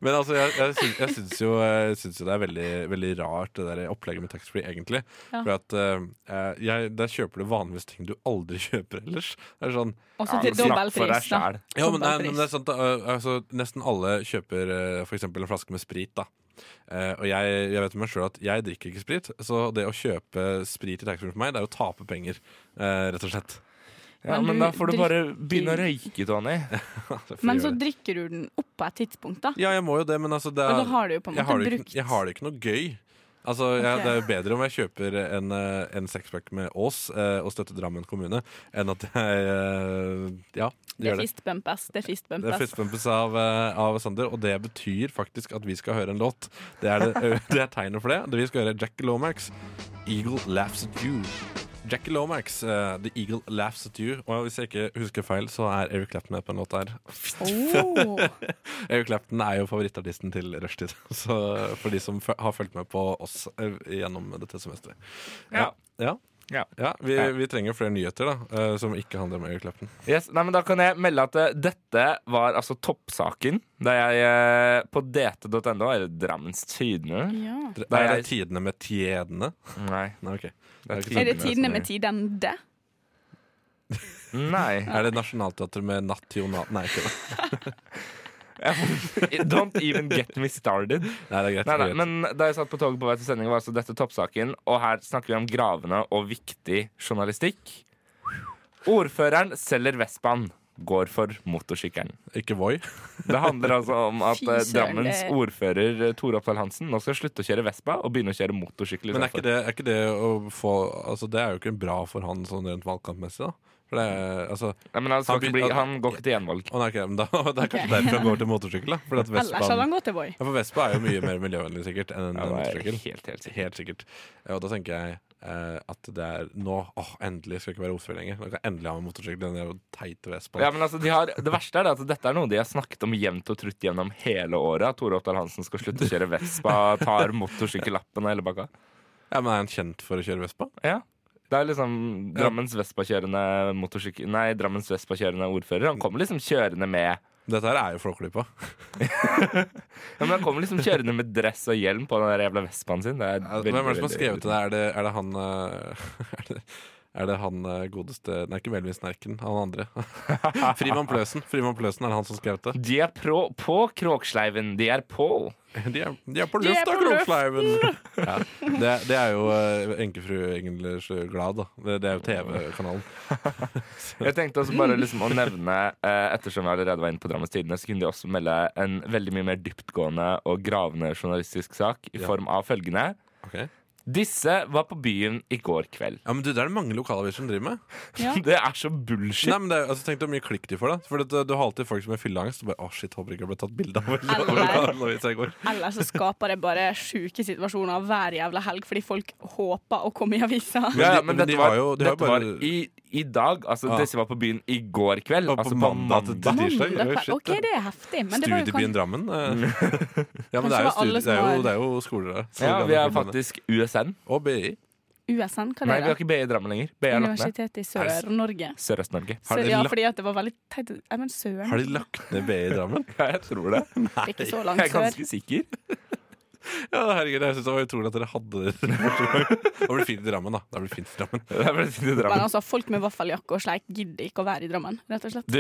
Men altså, jeg, jeg, syns, jeg, syns jo, jeg syns jo det er veldig, veldig rart, det der opplegget med taxfree, egentlig.
Ja.
For at eh, jeg, Der kjøper du vanligvis ting du aldri kjøper ellers. Det er sånn
Og så til dobbel pris, da.
Ja, men, nei,
Dobbel
men
pris.
det er sant, da, eh, altså, Nesten alle kjøper eh, for eksempel en flaske med sprit. da Eh, Og jeg, jeg vet med meg selv at jeg drikker ikke sprit, så det å kjøpe sprit i taxfree for meg, det er å tape penger. eh, rett og slett.
Ja,
Men
men
du
da får du bare begynne å
drikker-
røyke, Tony.
Jeg får
Men
gjøre
så
det.
drikker du den opp på et tidspunkt, da.
ja, jeg må jo det, men altså det
Og
er,
da har du jo på en
jeg, har
måte
det
brukt
ikke, jeg har det ikke noe gøy. Altså, jeg,
Ok.
Det er jo bedre om jeg kjøper en, eh, en sexpack med Ås eh, og støtter Drammen kommune, enn at jeg eh, Ja,
Det
gjør
er
det.
fistbumpes. Det er
Det er
fistbumpes.
fistbumpes av, eh, av Sander, og det betyr faktisk at vi skal høre en låt. Det er, det, det er tegnet for det. Det Vi skal høre Jack Lomax, 'Eagle Laughs At You'. Jack Lomax, eh, 'The Eagle Laughs At You'. Og hvis jeg ikke husker feil, så er Eric Clapton med på en låt her.
Oh.
Eric Clapton er jo favorittartisten til Rushtid, så for de som fø- har fulgt med på oss eh, gjennom dette semesteret. Ja. Ja.
Ja.
Ja, vi,
Ja.
vi trenger flere nyheter da, eh, som ikke handler om Eric Clapton.
Yes, nei, men Da kan jeg melde at eh, dette var altså toppsaken da jeg eh, på dt.no, eller Drammens Tidende
Ja.
Det
Nei,
er det
jeg-
tidene med tjedene.
Nei.
Nei, ok.
Det
Er det
Er det tidene med
tidene?
tidende?
Nei.
Er det Nationaltheatret med National... Nei, ikke det.
Don't even get me started.
Nei, det er greit.
Nei, nei,
det er greit.
men Da jeg satt på toget på vei til sending, var altså dette toppsaken. Og her snakker vi om gravene og viktig journalistikk. Ordføreren selger Vespaen, går for motorsykkelen.
Ikke Voi.
Det handler altså om at
Fy
eh,
søren,
Drammens
det-
ordfører eh, Tore Oppdal Hansen nå skal slutte å kjøre Vespa og begynne å kjøre motorsykkel.
Men er
istedenfor.
ikke, det, er ikke det å få Altså, det er jo ikke bra for han sånn rent valgkampmessig, da. For det er Altså
Nei, men han, skal
Han
ikke
begyn-
bli,
han-
han går ikke til gjenvalg.
Å nei, ok, men da, det er kanskje derfor han går til motorsykkel, da. For at
Ellers hadde
Vespaen
han gått til Voi.
Ja, for Vespa er jo mye mer miljøvennlig sikkert enn en
Ja, det er
motorsykkel.
helt, helt sikkert.
Helt sikkert. Ja, Og da tenker jeg eh, at det er nå Åh, endelig skal jeg ikke være ordfører lenger. Nå kan jeg endelig ha en motorsykkel. Den der teite Vespaen.
Ja, men altså, de har, det verste er det at dette er noe de har snakket om jevnt og trutt gjennom hele året. At Tore Oppdal Hansen skal slutte å kjøre Vespa, tar motorsykkellappen og hele bakka.
Ja, men er han kjent for å kjøre Vespa?
Ja. Det er liksom Drammens Vespa-kjørende motorsykkel... Nei, Drammens Vespa-kjørende ordfører. Han kommer liksom kjørende med
Dette her er jo Flåklypa.
ja, men Han kommer liksom kjørende med dress og hjelm på den der jævla Vespaen sin. Det er
Ja,
veldig,
Altså, Hvem er det som har
veldig-
skrevet det? Er det, er det han eh, er det, er det han eh, godeste Nei, ikke Melvin Snerken, han andre. Frimann Pløsen. Frimann Pløsen er det han som skrev det.
De er pro, på Kråksleiven. De er på.
De er, de er på
De
lufta,
er på
Kroksleiven! Ja, det, det er jo eh, enkefru Engelers eh, Glad, da. Det, det er jo TV-kanalen.
Jeg tenkte også bare liksom å nevne eh, Ettersom jeg allerede var inne på Drammens Tidende, så kunne de også melde en veldig mye mer dyptgående og gravende journalistisk sak i
Ja.
form av følgende.
Ok.
Disse var på byen i går kveld.
Ja, men du, Det er det mange lokalaviser som driver med.
Ja.
Det er så
Nei,
bullshit.
men det, er- altså, Tenk hvor mye klikk de får. da For det, Du har alltid folk som er fylleangst. Og bare, å shit, Håper ikke jeg ble tatt bilde av.
Eller-
lokalavisa i går.
Ellers så skaper det bare sjuke situasjoner hver jævla helg fordi folk håper å komme i avisa.
Men de- men de har jo- de har
dette
bare-
var i, i dag. Altså,
Ah.
Disse var på byen i går kveld.
Og på
altså
mandag til
mandag.
tirsdag.
Mandag
Ja,
kveld.
shit.
OK, det er heftig, men det var jo
Studiebyen
kanskje
Drammen? eh. ja, men
Kanskje
det er, jo
det var
studi- det,
alle
er
som
jo,
var-
det er jo skoler der.
Ja, vi er
Skolegrad-
faktisk USN.
Og BI.
USN. Hva er
Nei, vi har
det?
ikke BI i Drammen lenger. BI er lagt ned.
Universitetet i Sør-Norge.
Sørøst-Norge.
Har de
Sør- Ja,
lagt-
fordi at det var veldig teit. Nei,
Har
men søren.
de lagt ned BI i Drammen?
Ja, jeg tror det.
Det er ikke så
Jeg
langt
er
sør.
ganske sikker.
Ja, herregud, jeg synes det var utrolig at dere hadde det. første gang. Da blir det fint i Drammen, da. Da blir det fint i Drammen.
Det er veldig fint i Drammen.
Men altså, folk med vaffeljakke og sleik gidder ikke å være i Drammen, rett og slett.
Du,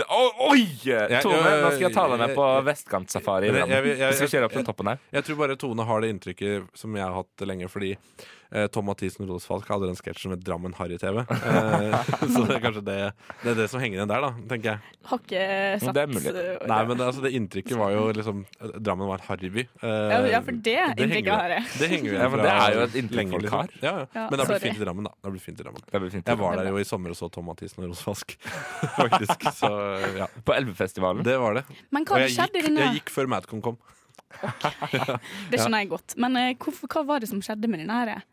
d- å- oi! Tone,
jeg-
nå skal jeg ta deg med på
jeg-
vestkantsafari. i
Jeg- jeg-
Drammen.
jeg- jeg-
Vi skal kjøre opp den toppen her.
Jeg tror bare Tone har det inntrykket som jeg har hatt lenge, fordi eh, Tom Mathisen og Rolos Falk hadde den sketsjen med Drammen Harry TV. Eh, så det er kanskje det, det er det som henger igjen der, da, tenker jeg.
Har ikke satt
Det er mulig.
uh,
Nei, men det, altså, det inntrykket var jo liksom eh, Drammen var en harryby. Eh,
Ja, ja, for det inntrykket
henger-
har jeg.
Det henger jo
Ja, men
fra
det er jo et inntrykk
lenge,
folk
liksom.
har.
Ja, ja. men
Ja,
da blir det
sorry.
fint i Drammen, da. da blir det fint i Drammen.
Det blir fint.
Jeg var der jo i sommer og så Tom Mathisen og Rose Fask. Faktisk. Så ja.
På Elvefestivalen.
Det var det.
Men
Og
hva har
jeg
skjedd i
gikk,
denne
jeg gikk før Madcon kom.
Det skjønner jeg godt. Men eh, hvorfor, hva var det som skjedde med den her? eh,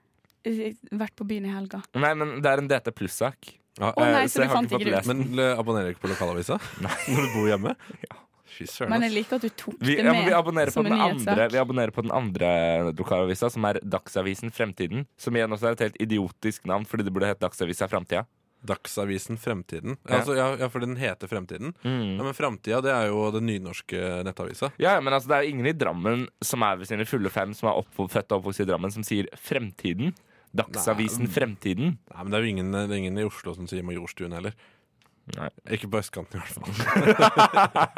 Vært på byen i helga.
Nei, men det er en DT pluss-sak.
Ja,
Å nei,
eh,
så du
jeg har
fant
ikke
ikke
fått
det ut.
lest.
men eh, abonnerer du ikke på lokalavisa når du bor hjemme? Fy søren.
Men
ass.
jeg liker at du tok
Vi,
det
ja,
med
men vi, abonnerer på
som
den
en nyhetssak.
andre, vi abonnerer på den andre lokalavisa, som er Dagsavisen Fremtiden. Som igjen også er et helt idiotisk navn, fordi det burde hett Dagsavisa Framtida.
Dagsavisen Fremtiden.
Ja.
Altså, ja, Mm. ja, for den heter Fremtiden. Ja, men Framtida det er jo den nynorske nettavisa.
Ja, ja, men altså, det er jo ingen i Drammen som er ved sine fulle fem, som er oppvo- født og oppvokst i Drammen, som sier Fremtiden. Dagsavisen Fremtiden.
Nei, men Det er jo ingen, det er ingen i Oslo som sier Majorstuen heller.
Nei.
Ikke på østkanten, i hvert fall.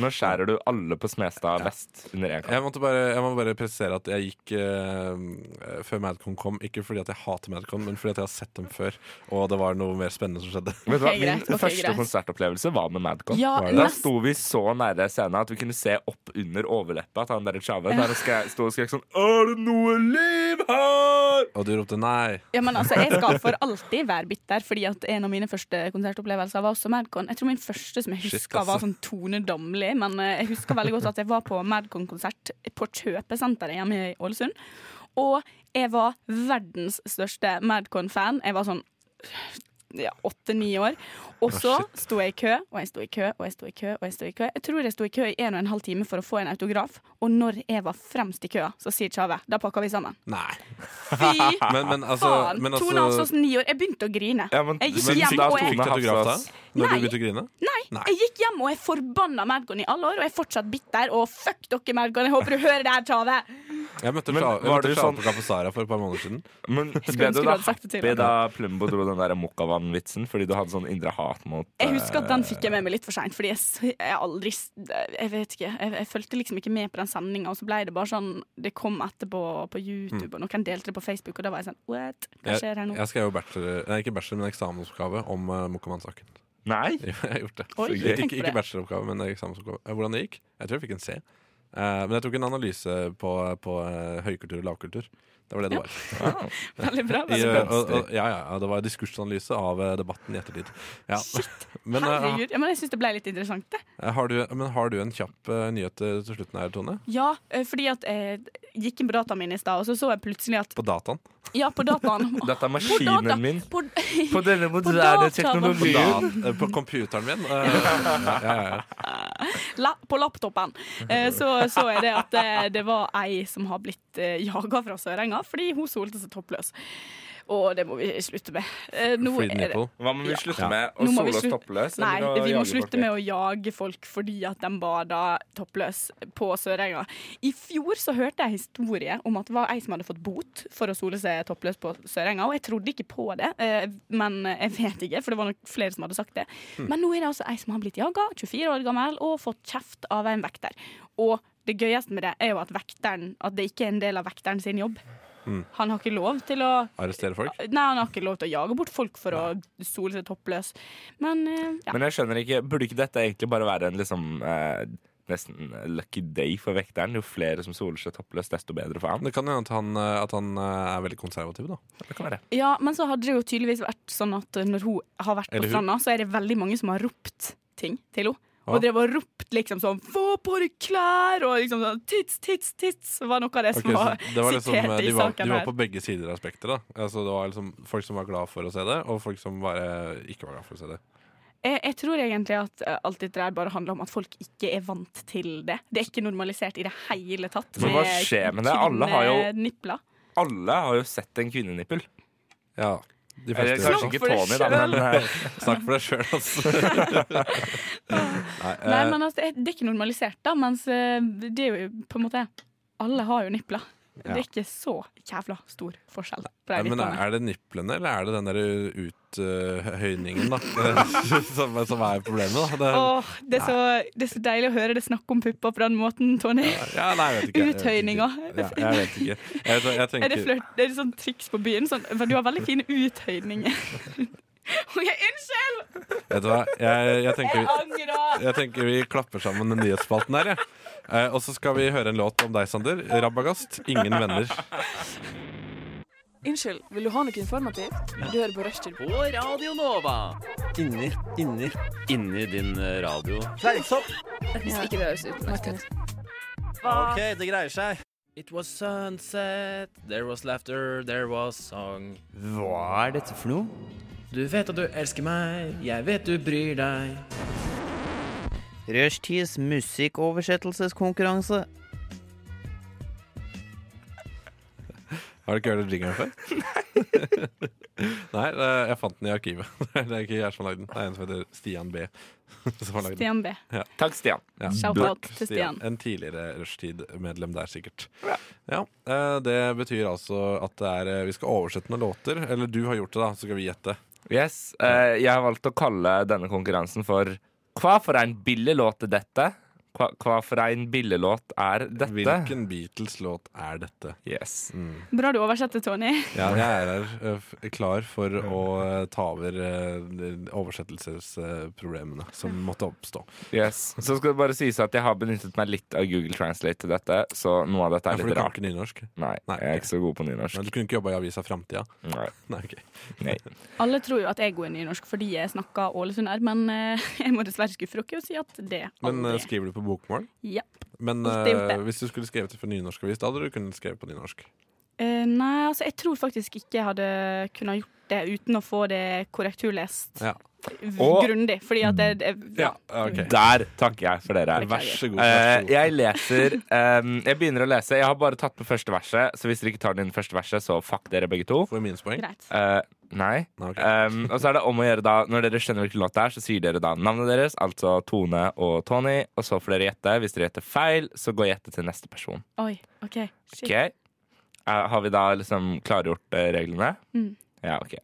Nå skjærer du alle på Smestad vest under én kamp.
Jeg, måtte bare, jeg må bare presisere at jeg gikk eh, før Madcon kom. Ikke fordi at jeg hater Madcon, men fordi at jeg har sett dem før. Og det var noe mer spennende som skjedde.
Vet du hva?
Ok,
Min
greit, ok,
første
greit.
konsertopplevelse var med Madcon.
Ja,
Var det?
Da
nest,
sto vi så nære scenen at vi kunne se opp under overleppa til han der Chave. Der han skre- sto og skrek sånn Er det noe liv her?
Og du ropte nei.
ja, men altså, jeg skal for alltid være bitter, fordi at en av mine første konsertopplevelser var også Madcon. Jeg tror min første som jeg
Shit,
husker,
altså.
var sånn Tone Damli, men eh, jeg husker veldig godt at jeg var på Madcon-konsert på kjøpesenteret hjemme i Ålesund. Og jeg var verdens største Madcon-fan. Jeg var sånn ja, åtte-ni år. Og så sto jeg i kø, og jeg sto i kø, og jeg sto i kø. og Jeg sto i kø. Jeg tror jeg sto i kø i en og en halv time for å få en autograf. Og når jeg var fremst i køa, så sier Tjave da pakker vi sammen.
Nei.
Fy
Men, men altså,
faen!
men
Tone
altså
Hansen, ni år. Jeg begynte å grine.
Ja, men-
jeg gikk
men
hjem
da
og
Fikk
jeg
du autograf da? Når
Nei.
du begynte å grine?
Nei,
Nei.
jeg gikk hjem og jeg forbanna Madcon i alle år, og jeg er fortsatt bitter. Og fuck dere, Madcon! Jeg håper du hører det her, Tjave!
Jeg møtte
Men
Sja- jeg
var
møtte
du
Sjave
sånn-
på Kapasara for et par måneder siden.
Men ble
ønske du
du da
hadde sagt det til
happy
henne.
da Plumbo dro den der Mokkavann-vitsen? Fordi du hadde sånn indre hat mot eh,
Jeg husker at den fikk jeg med meg litt for seint, fordi jeg, s- jeg aldri s- Jeg vet ikke. Jeg, jeg fulgte liksom ikke med på den sendinga, og så ble det bare sånn Det kom etterpå på YouTube,
Mm.
og noen delte det på Facebook, og da var jeg sånn What? Hva skjer her nå?
Jeg skrev jo bachelor, nei, ikke bachelor, men eksamensoppgave om uh, Mokaman-saken.
Nei?
Jo, Jeg har gjort det.
Oi,
ikke,
tenk på
ikke
det.
bacheloroppgave, men eksamensoppgave. Eh, Hvordan det gikk? Jeg tror jeg fikk en C. Eh, men jeg tok en analyse på, på eh, høykultur og lavkultur. Det var det det var.
Veldig bra.
I,
Veldig bra.
eh, og, og, ja, ja, ja, det var diskursanalyse av eh, debatten i ettertid. Ja. Men, eh,
Herregud. Ja, men jeg syns det ble litt interessant, det.
har, du, men har du en kjapp eh, nyhet eh, til slutten her, Tone?
Ja, eh, fordi at jeg gikk inn på dataen min i stad, og så så jeg plutselig at
På dataen?
Ja, på dataen.
Dette er
På data-
maskinen min.
På,
På denne moderne
dataen.
På,
teknologien.
da, eh, på computeren min? Eh, ja, ja, ja.
la, på laptopen eh, så, så er det at eh, det var ei som har blitt eh, jaga fra Sørenga fordi hun solte seg toppløs. Og det må vi slutte med. Eh, nå
Free
er det-
nipple.
Hva må vi
Ja.
slutte med? Å
Nå må vi
sole oss
slutte-
toppløs?
Nei,
eller å
vi må
jage folk
slutte
med?
med å jage folk fordi at de bada toppløs på Sørenga. I fjor så hørte jeg historie om at det var ei som hadde fått bot for å sole seg toppløs på Sørenga, og jeg trodde ikke på det, eh, men jeg vet ikke, for det var nok flere som hadde sagt det.
Hm.
Men nå er det altså ei som har blitt jaga, 24 år gammel, og fått kjeft av en vekter. Og det gøyeste med det er jo at vekteren, at det ikke er en del av vekteren sin jobb.
Hm.
Han har ikke lov til å
Arrestere folk?
Nei, han har ikke lov til å jage bort folk for å sole seg toppløs. Men eh, ja.
Men jeg skjønner ikke, burde ikke dette egentlig bare være en liksom eh, nesten lucky day for vekteren? Jo flere som soler seg toppløst, desto bedre for han.
Det kan hende at han, eh, at han eh, er veldig konservativ, da.
Det kan være.
Ja, men så hadde det jo tydeligvis vært sånn at når hun har vært
Eller
på
hun.
stranda, så er det veldig mange som har ropt ting til henne.
Ja.
Og drev og ropt liksom sånn 'få på deg klær' og liksom sånn 'tits, tits, tits' var noe av det
Ok,
som var,
så det var liksom, de,
sitert i
var, de
saken
var
her.
på begge sider av spekteret. da. Altså, det var liksom folk som var glad for å se det, og folk som bare ikke var glad for å se det.
Jeg, jeg tror egentlig at eh, alt dette der bare handler om at folk ikke er vant til det. Det er ikke normalisert i det hele tatt.
Men hva skjer med det? Alle har jo-
kvinnenipler.
Alle har jo sett en kvinnenippel.
Ja, de
Eller
fleste
kanskje
Snakk
ikke
for deg
Tony, da,
selv.
men eh,
Snakk for deg sjøl, altså. Nei, eh,
Nei, men altså, det er ikke normalisert, da, mens eh, det er jo på en måte Alle har jo nipler.
Ja.
Det er ikke så jævla stor forskjell på de
nei, eh, men
niplene.
er det niplene, eller er det den der uthøyningen, da? som, som er problemet, da. Det,
Åh, det, er så, det er så deilig å høre det snakke om pupper på den måten, Tony.
ja, nei, jeg vet ikke.
Uthøyninga.
Ja, jeg vet ikke. Jeg, vet- jeg
Er det
tenker
flørt? Det er sånn triks på byen. Sånn, du har veldig fine uthøyninger. OK, unnskyld!
Vet du hva, jeg, jeg tenker
Jeg angrer!
Jeg tenker vi klapper sammen den nyhetsspalten her, jeg. Eh, og så skal vi høre en låt om deg, Sander. Rabagast, 'Ingen venner'.
Unnskyld, vil du ha noe informativt? Du hører på Rushtid.
På Radio Nova. Inni, inni Inni din eh, radio.
Ikke det høres ut.
Hva
OK, det greier seg. It was sunset, there was laughter, there was song. Hva er dette for noe? Du vet at du elsker meg, jeg vet du bryr deg.
Rushtids musikkoversettelseskonkurranse.
Har du ikke hørt den jingeren før? Nei, eh, jeg fant den i arkivet. Det er ikke jeg som har lagd den. Det er en som heter Stian B. som har lagd den.
Stian B.
Ja.
Takk, Stian.
Shout-out
Takk,
til Stian.
En tidligere rushtid-medlem der, sikkert. Ja, eh, Det betyr altså at det er, eh, vi skal oversette noen låter. Eller du har gjort det, da, så skal vi gjette.
Yes, eh, Jeg har valgt å kalle denne konkurransen for Hva for en billig låt er dette? Hva, hva for en billig låt er dette?
Hvilken Beatles-låt er dette?
Yes.
Bra du oversetter, Tony.
Ja, jeg er her eh, f- klar for å eh, ta over eh, oversettelsesproblemene som måtte oppstå.
Yes. Så skal det bare sies at jeg har benyttet meg litt av Google Translate til dette, så noe av dette
Ja,
er
for du
litt
kan
rart.
ikke nynorsk?
Nei, jeg er ikke så god på nynorsk.
Men du kunne ikke jobba i avisa Framtida?
Nei.
Nei, ok.
Nei.
Alle tror jo at jeg er nynorsk fordi jeg snakker ålesunder, men eh, jeg må dessverre skuffe dere og si at det
Men eh,
aldri.
skriver du på bokmål?
Ja.
Men
Alltid gjort
eh,
det.
hvis du skulle skrevet det for nynorskavis, da hadde du kunnet skrevet på nynorsk?
Eh, nei, altså jeg tror faktisk ikke jeg hadde kunnet gjort det uten å få det korrekturlest
Ja.
v-
Og-
grundig, fordi at det, det ja.
Der takker jeg for dere.
Vær så
god,
Eh, jeg leser ehm, Jeg begynner å lese. Jeg har bare tatt med første verset, så hvis dere ikke tar den første verset, så fuck dere begge to.
Får jeg minuspoeng?
Eh, nei. Ehm, og så er det om å gjøre da Når dere skjønner hvilken låt det er, så sier dere da navnet deres, altså Tone og Tony, og så får dere gjette. Hvis dere gjetter feil, så går gjettet til neste person.
Oi, OK. Shit.
Ok Eh, Har vi da liksom klargjort eh, reglene?
Mm.
Ja, ok.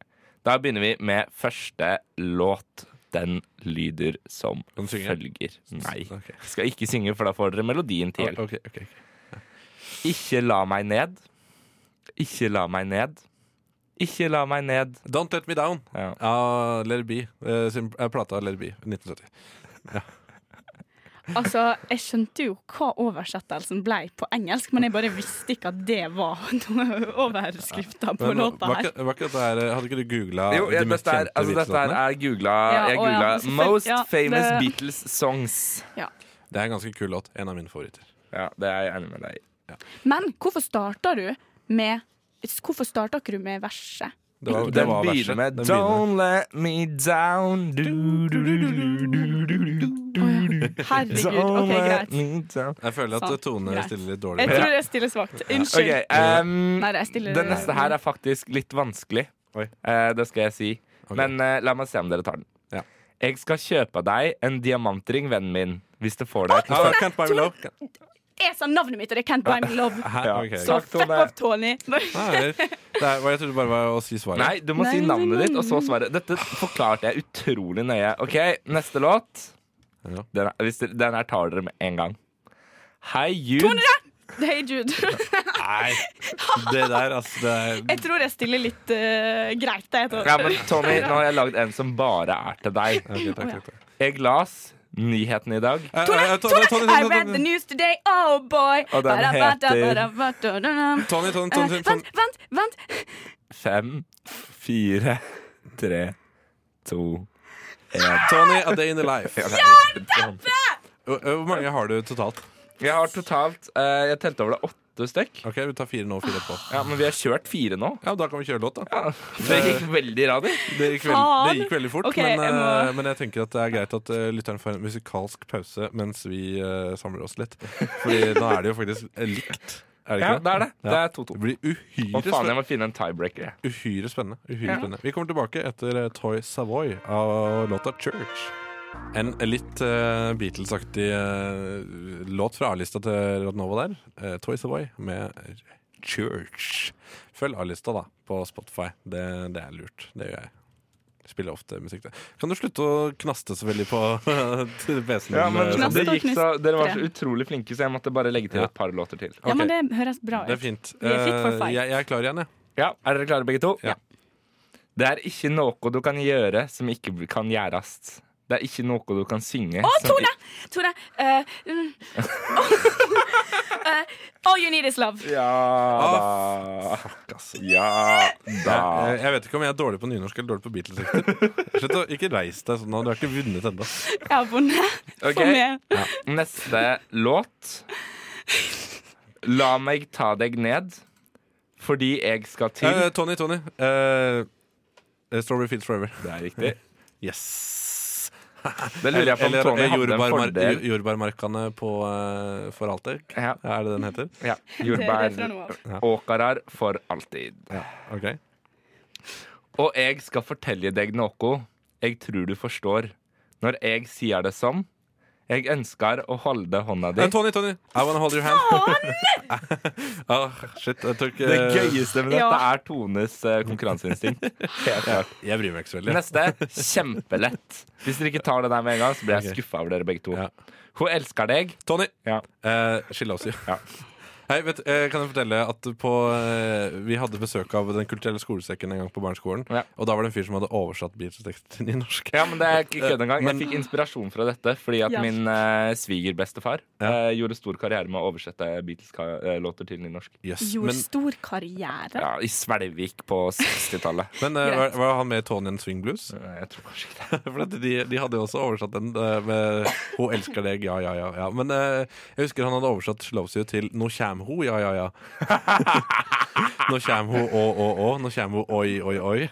Da begynner vi med første låt. Den lyder som følger. Nei. Skal ikke synge, for da får dere melodien til.
Ok, ok, ok.
Ikke la meg ned. Ikke la meg ned. Ikke la meg ned.
Don't Let Me Down
ja.
av Let It Be. eh, sin, eh, plata Let It Be 1970.
Altså, jeg skjønte jo hva oversettelsen ble på engelsk, men jeg bare visste ikke at det var overskrifta på
Men,
låta
var
her.
ikke, var ikke dette her, eh, Hadde ikke du googla
Jo, jeg,
de mest
dette, er,
kjente
altså, dette her
Beatles-låtene?
er googla
Ja,
Jeg
å ja,
googla
selvfølgelig.
'Most
Ja,
famous
det-
Beatles songs'.
Ja.
Det er en ganske kul låt. En av mine favoritter.
Ja, det er jeg enig med deg i.
Men hvorfor starta du med Hvorfor starta ikke du med verset?
Det var, det
Den
var
begynner
verset.
sånn. med
Den begynner.
'Don't let me down'. Du, du, du, du, du, du, du, du, du.
Herregud,
Don't
OK,
let
greit.
me down.
Jeg føler at
Sant.
Tone
Greit.
stiller litt dårlig.
Jeg tror jeg stiller svakt. Unnskyld.
Ok, ehm,
Nei, jeg stiller
Den neste her er faktisk litt vanskelig. Eh, det skal jeg si. Men eh, la meg se om dere tar den. Jeg skal kjøpe deg en diamantring, vennen min, hvis du får deg til
Ah, Can't Buy Me Love.
Jeg sa navnet mitt, og det er Can't Buy Me Love.
Hæ?
Ja.
Ok,
Så
greit.
fuck off, Tony.
Nei, det er, jeg trodde det bare var å si svaret.
Nei, du må
Nei,
si
nei,
navnet
nei,
ditt, og så svaret. Dette forklarte jeg utrolig nøye. Ok, neste låt.
Ja.
Den, er, hvis dere, den her tar dere med en gang. Hei, Jude.
Tone, Hey Jude.
Nei, det der, altså det er,
Jeg tror jeg stiller litt eh, greit. Jeg, tror.
Ja, men Tony, nå har jeg lagd en som bare er til deg.
Ok, takk, takk, takk.
Jeg las nyheten i dag.
Eh,
Tone,
eh, Tone,
Tone,
Tone,
I read the
Tone,
news today, oh boy.
Og den heter-
Vent,
Tony, Tony, Tony, Tony.
vent, vent.
Fem, fire, tre, to
Tony, A Day In The Life.
Jernteppe!
Hvor hvor mange har du totalt?
Jeg har totalt eh, Jeg telte over det åtte stykk.
Ok, Vi tar fire nå og fire etterpå.
Ja, Men vi har kjørt fire nå.
Ja, Da kan vi kjøre låt, da.
Ja, det gikk veldig radig.
Det gikk, veld, det gikk veldig fort,
Ok,
men,
jeg
eh,
må-
men jeg tenker at det er greit at eh, lytteren får en musikalsk pause mens vi eh, samler oss litt. Fordi nå er det jo faktisk eh, likt. Er det ikke
Ja, det er det.
Ja.
Det er to-to.
Det blir uhyre
Å faen, jeg
spennende.
må finne en tiebreaker. jeg.
Uhyre spennende. Uhyre spennende. Vi kommer tilbake etter eh, Toy Savoy av låta 'Church'. En litt eh, Beatles-aktig eh, låt fra A-lista til Radnova der. Eh, Toy Savoy med Church. Følg A-lista, da, på Spotify. Det, det er lurt. Det gjør jeg. Spiller ofte musikk der. Kan du slutte å knaste så veldig på til PC-en?
Ja, men
din, eh,
Knast
det
og
gikk
knust.
så, Dere var så
Tre.
utrolig flinke, så jeg måtte bare legge til et par låter til.
Ja, men
Ok.
det høres bra
Det er
ut.
fint.
Vi er fit for
Eh,
fight.
jeg, jeg er klar igjen, jeg.
Ja, Er dere klare, begge to?
Ja.
Det er ikke noe du kan gjøre som ikke kan gjøres. Det er ikke noe du kan synge
Å,
som
Tone! Tone. eh, mm. Eh, all you need is love.
ikke- Ja da. Ja da.
Jeg, eh, jeg vet ikke om jeg er dårlig på nynorsk eller dårlig på Beatles. riktig. Slutt å ikke reise deg sånn. nå. Du har ikke vunnet ennå.
Jeg har vunnet.
Ok.
For meg.
Neste låt La meg ta deg ned, fordi jeg skal til
Eh, Tony, Tony. Eh, eh, Strawberry Fields Forever.
Det er riktig.
Yes!
Det lurer jeg på om
Eller
Tony
eh,
hadde en
jordbærmar-
fordel.
jor- Jordbærmarkene på eh, for alltid.
Ja,
Er det det den heter?
ja.
Det er fra nå av.
Jordbæråkarar for alltid.
Ok
Og jeg skal fortelle deg noe jeg tror du forstår. Når jeg sier det som Jeg ønsker å holde hånda di
Eh, Tony, Tony. I wanna hold your hand. Ah, shit, jeg tok
Det
eh,
gøyeste med dette
Ja.
er Tones eh, konkurranseinstinkt. Helt klart.
Jeg bryr meg ikke så veldig.
Neste. Kjempelett. Hvis dere ikke tar det der med en gang, så blir jeg
Ok.
skuffa over dere begge to.
Ja.
Hun elsker deg.
Tony,
Ja.
eh, skille oss i.
Ja.
Hei, vet, eh, kan jeg fortelle at på, eh, vi hadde besøk av Den kulturelle skolesekken en gang på barneskolen.
Ja.
Og da var det en fyr som hadde oversatt Beatles-teksten i norsk.
Ja, men det er ikke kødd engang. Jeg
Men-
fikk inspirasjon fra dette fordi at
Ja.
min eh, svigerbestefar
Ja.
eh, gjorde stor karriere med å oversette Beatles-låter til nynorsk.
Yes.
Gjorde
Men,
stor karriere.
Ja, I Svelvik på 60-tallet.
men eh, var,
Greit.
var han med i Tony and Swing Blues?
Eh, Jeg tror kanskje ikke det.
For at de, de hadde jo også oversatt den eh, med 'Ho elsker deg', ja, ja, ja. ja. Men eh, jeg husker han hadde oversatt 'Sloves you' til 'Nå kjem ho', ja, ja, ja. Nå kjem ho, å, å, å. Nå kjem ho, oi, oi, oi.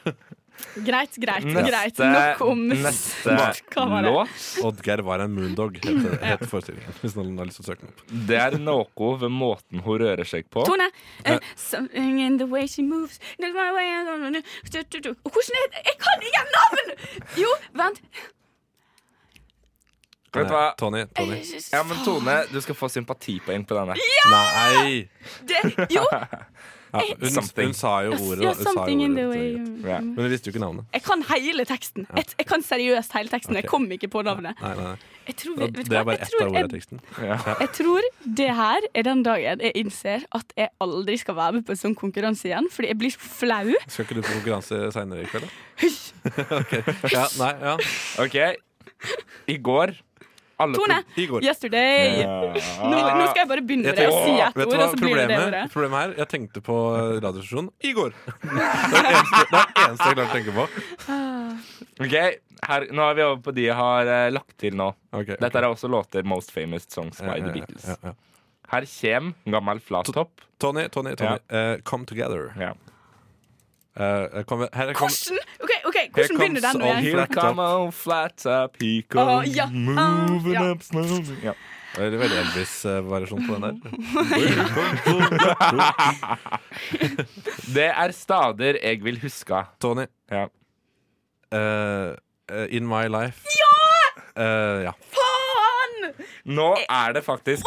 Greit, greit, greit. Nok om
neste
Hva var det?
låt.
Oddgeir var en moondog, heter, heter forestillingen. Hvis noen har lyst til å søke den opp.
Det er noe ved måten hun rører seg på.
Tone! eh, something in the way she moves Not my way I don't know. Du, du, du. Og Hvordan er det? Jeg kan ikke navn! Jo, vent.
Vet du hva?
Nei, Tony,
Eh,
Tony.
Ja, men Tone, du skal få sympatipoeng på denne.
Nei!
Det, jo,
Ja, hun,
Something.
hun sa jo ordet. da.
ja,
Hun sa jo
something in
ordet,
the
vet
way
du.
Ja.
Men hun visste jo ikke navnet.
Jeg kan hele teksten. Jeg, jeg kan seriøst hele teksten. Jeg
Ok.
kom ikke på navnet.
Nei, nei, nei.
Jeg tror, vi- vet du
Det er
hva?
bare
Jeg
ett av
tror,
ordene i
jeg,
teksten.
jeg tror det her er den dagen jeg innser at jeg aldri skal være med på en sånn konkurranse igjen, fordi jeg blir så flau.
Skal ikke du på konkurranse seinere i kveld, da? Ok. Ja, nei, ja.
OK. I går alle
Tone!
I går.
Yesterday. Nå, nå skal jeg bare begynne med det og si ett
Vet
ord,
du hva
og så blir det det
problemet,
ordet.
problemet her? Jeg tenkte på eh, radiostasjonen i går. Det er det eneste, det er det eneste jeg klarte å tenke på.
Ok, her, Nå er vi over på de jeg har eh, lagt til nå.
Ok, ok.
Dette er også låter Most Famous Songs by The Beatles.
Ja, ja, ja.
Her kjem gammel flattopp.
Tony, Tony, Tony. eh, come together.
Ja.
Eh, kom, her kom,
Hvordan? OK, ok, hvordan
comes
begynner den nå
all
igjen?
Here
Flat
come on flat up, he
Å,
comes
ja.
Ah,
moving
Ja.
up slowly. Ja.
Det er Veldig Elvis-variasjon på den der.
Det er stader jeg vil huske.
Tony,
Ja.
eh, eh, In My Life. Eh, ja.
Faen!
Nå
Eh,
er det faktisk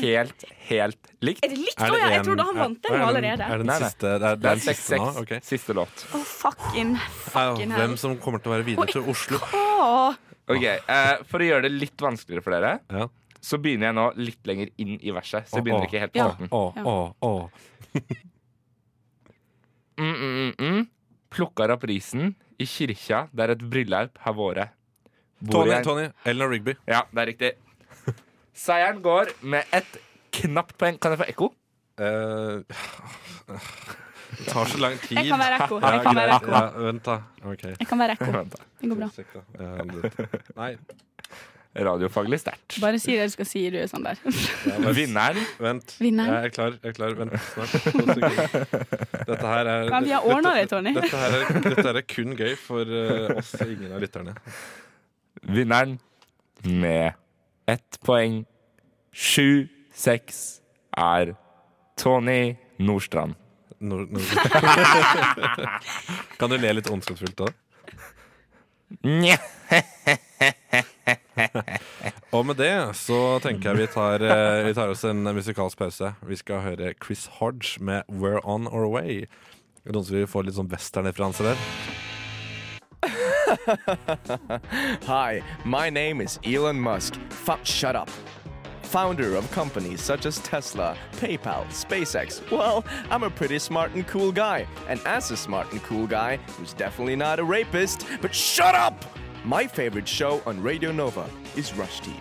helt, helt likt.
Er det likt
Er
nå,
det
ja? Jeg
en-
trodde han vant den
er
nå
den- Er
allerede.
den
Nei, nei.
siste? Det er, det
Det
er
er
den siste nå?
6-6.
Ok.
Siste låt.
Å, fucking
Au,
fucking hell.
hvem som kommer til å være videre til Oslo?
Å,
Ok, eh, For å gjøre det litt vanskeligere for dere,
Ja.
så begynner jeg nå litt lenger inn i verset. Så jeg
Å,
begynner
å,
ikke helt på
Ja.
starten.
Å, å, å.
mm, mm, mm, mm. Plukker opp risen i kirka der et bryllup har vært. Bor
Tony,
jeg-
Tony, Eleanor Rigby.
Ja, det er riktig. Seieren går med et knapt poeng. Kan jeg få ekko?
Eh, det tar så lang tid.
Jeg kan være ekko.
Ja,
Jeg kan være
greit.
ekko.
Ja, vent, da. Ok.
Jeg kan være ekko.
Vent da.
Det går bra.
Sekk, da. Eh, litt. Nei,
Radiofaglig sterkt.
Bare si det sånn du skal si, du, Sander.
jeg bare-
Vinneren
Vent.
Vinneren.
Jeg er klar. Jeg er klar. Vent snart. To sekunder. Dette her er
Men vi har ordnet det, Tony.
Dette her er, dette her er kun gøy for eh, oss og ingen av lytterne.
Vinneren med ett poeng. Sju, seks er Tony Nordstrand.
Nor- nor- kan du le litt ondskapsfullt av det?
Nja.
Og med det så tenker jeg vi tar, eh, vi tar oss en musikalsk pause. Vi skal høre Chris Hodge med 'We're On Our Way'. Er det Noen som vil få litt sånn westernreferanse der?
Hi, my name is Elon Musk. Fu shut up. Founder of companies such as Tesla, PayPal, SpaceX. Well, I'm a pretty smart and cool guy. And as a smart and cool guy, who's definitely not a rapist, but shut up! My favorite show on Radio Nova is Rushdie.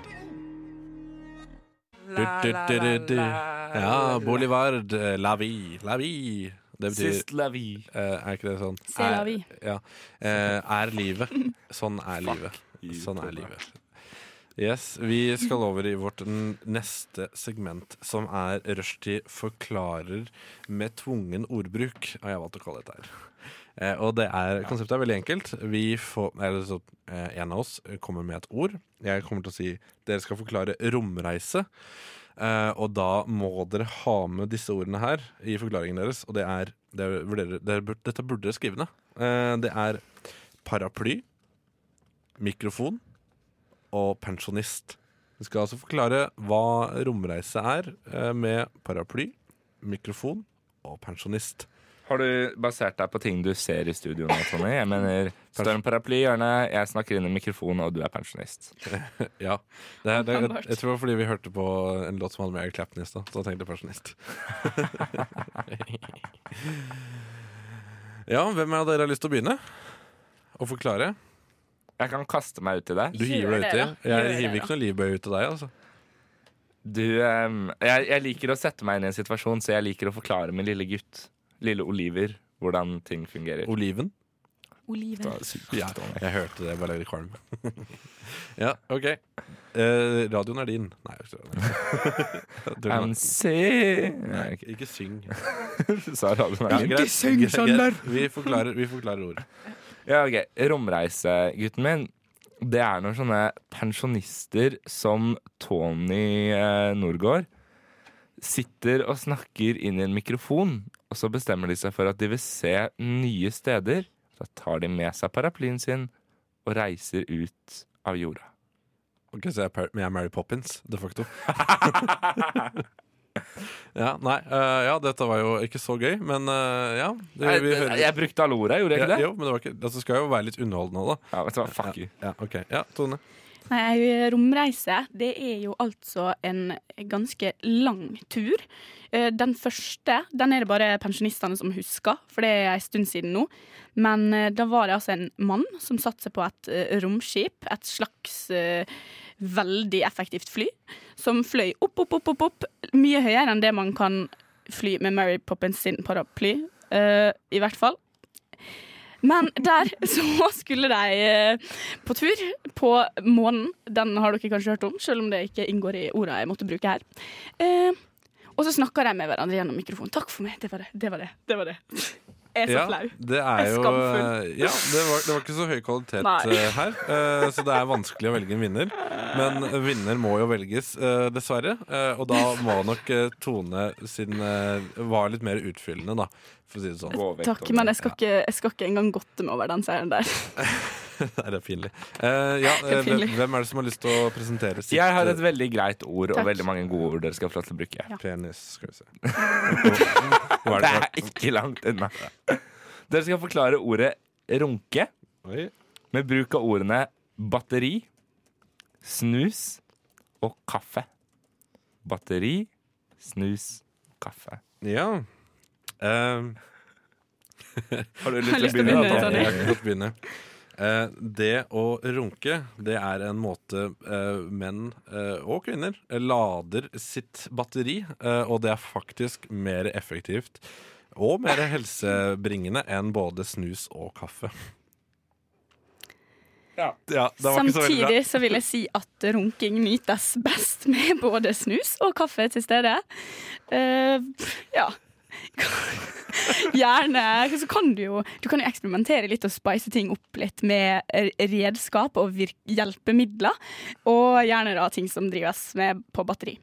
Du, du, du, du, du. Ja, Bolivard, eh, la vie, la vie. Det betyr
Lavi.
eh, Er ikke det sånn?
C'est la
Er-
vie.
Ja. Eh, Er livet. Sånn er livet. Sånn er livet. Yes, Vi skal over i vårt n- neste segment, som er Rushtid forklarer med tvungen ordbruk. Har jeg valgt å kalle dette her. Eh, og det er, Konseptet er veldig enkelt. Vi får, eller så, eh, En av oss kommer med et ord. Jeg kommer til å si dere skal forklare romreise. Eh, og da må dere ha med disse ordene her i forklaringen deres. Og det er, det er vurderer- dere bur- Dette burde dere skrive ned. Eh, det er paraply, mikrofon og pensjonist. Vi skal altså forklare hva romreise er eh, med paraply, mikrofon og pensjonist.
Har du basert deg på ting du ser i studio nå, Tony? Jeg mener, står en paraply i hjørnet, jeg snakker inn i mikrofonen, og du er pensjonist.
Ja. Det, er- det, er- jeg,
Åpenbart.
jeg tror det var fordi vi hørte på en låt som hadde med Eric Clapton i stad, så da tenkte jeg pensjonist. ja, hvem av dere har lyst til å begynne? Å forklare?
Jeg kan kaste meg ut i det.
Du hiver deg
det,
uti.
da. Gjør
Jeg
det,
hiver
da.
ikke noe livbøye ut til deg, altså.
Du, ehm, jeg, jeg liker å sette meg inn i en situasjon, så jeg liker å forklare min lille gutt, lille Oliver, hvordan ting fungerer.
Oliven.
Oliven.
Da- supert,
Ja,
Tony.
jeg hørte det, jeg bare ble litt kvalm. ja, OK. Eh, radioen er din. Nei, jeg tror det. Du kan-
MC Nei,
Nei, ikke syng.
ikke- sa radioen her.
Greit, greit, greit. Vi forklarer, vi forklarer ord.
Ja, ok. Romreisegutten min, det er noen sånne pensjonister som Tony eh, Norgård sitter og snakker inn i en mikrofon, og så bestemmer de seg for at de vil se nye steder. Da tar de med seg paraplyen sin og reiser ut av jorda.
Ok, så jeg er, Par- men jeg er Mary Poppins, de facto. ja, nei, eh, ja, dette var jo ikke så gøy, men eh, ja. Det, vi
jeg,
hører
jeg brukte alle orda, gjorde jeg ikke
ja,
det?
jo, men det var ikke, altså, skal jo være litt underholdende òg, da.
Ja, vet du hva, fuck you.
Ja, ok. ja, Tone.
Nei, eh, romreise det er jo altså en ganske lang tur. Eh, Den første den er det bare pensjonistene som husker, for det er en stund siden nå. Men eh, da var det altså en mann som satte seg på et eh, romskip, et slags eh, veldig effektivt fly, som fløy opp, opp, opp, opp, opp, mye høyere enn det man kan fly med Mary Poppins sin paraply, eh, i hvert fall. Men der så skulle de eh, på tur på månen. Den har dere kanskje hørt om, selv om det ikke inngår i orda jeg måtte bruke her. Eh, og så snakka de med hverandre gjennom mikrofonen. Takk for meg. Det var det. Det var det. det, var det. Jeg er så
Ja,
flau.
det er jo
Skamfull.
eh, Ja, det var, det var ikke så høy kvalitet
Nei.
eh, her, eh, så det er vanskelig å velge en vinner. Men vinner må jo velges, eh, dessverre. eh, Og da må nok eh, Tone sin eh, var litt mer utfyllende, da, for å si det sånn.
Gå vekk,
Takk,
Tony.
men jeg skal ikke, jeg skal ikke engang godte meg over den seieren der.
Nei, det er pinlig. Eh, ja,
Det er
eh, hvem-
pinlig.
Hvem er det som har lyst til å presentere sitt
Jeg har et veldig greit ord og
Takk.
veldig mange gode ord dere skal få lov til å bruke.
eh, penis? Skal vi se. Hva er
Det
det?
er ikke langt unna. Dere skal forklare ordet runke
Oi.
med bruk av ordene batteri, snus og kaffe. Batteri, snus, kaffe.
Ja. Eh,
Har du
Jeg har lyst
lyst til å
til å
begynne?
begynne,
Tony?
Tony.
Jeg kan godt begynne. Eh, det å runke, det er en måte eh, menn eh, og kvinner lader sitt batteri, eh, og det er faktisk mer effektivt og mer helsebringende enn både snus og kaffe.
Ja.
Ja, det var ikke så veldig bra.
Samtidig så vil jeg si at runking nytes best med både snus og kaffe til stede. Eh, ja. Gjerne. Så kan du jo Du kan jo eksperimentere litt og spice ting opp litt med redskap og virk hjelpemidler. Og gjerne da ting som drives med på batteri.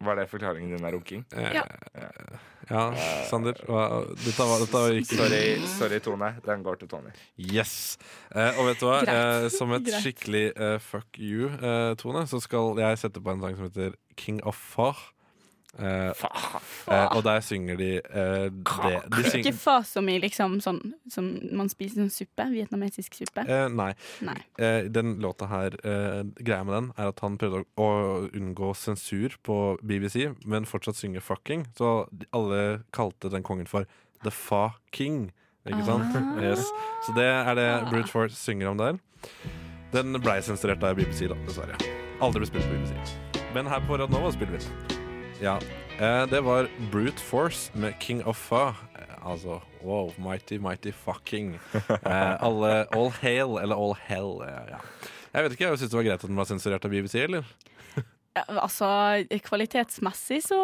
Var det forklaringen din av runking?
Ja.
Eh, Ja, Sander, hva, dette, var, dette gikk
Sorry, sorry, Tone. Den går til Tony.
Yes. Eh, og vet du hva? Eh, som et
Greit.
skikkelig eh, fuck you, eh, Tone, så skal jeg sette på en sang som heter King of Far. Eh, eh, og der synger de eh, det de
Ikke
synger,
fa som i liksom sånn som man spiser sånn suppe. Vietnamesisk suppe.
eh, Nei.
Nei.
Eh, den låta her eh, Greia med den er at han prøvde å, å unngå sensur på BBC, men fortsatt synge fucking. Så de- alle kalte den kongen for The Fa King. Ikke sant?
Ah.
Yes. Så det er det Brute Force synger om der. Den blei sensurert av BBC, da, dessverre. Aldri ble spilt på BBC. Men her på Radnova spiller vi den. Ja. Eh, det var Brute Force med King of Fa. Eh, Altså wow, mighty, mighty fucking. Eh, alle All hail, eller all hell. Eh, ja. Jeg vet ikke, jeg syns det var greit at den var sensurert av BBC, eller?
Ja, altså, kvalitetsmessig så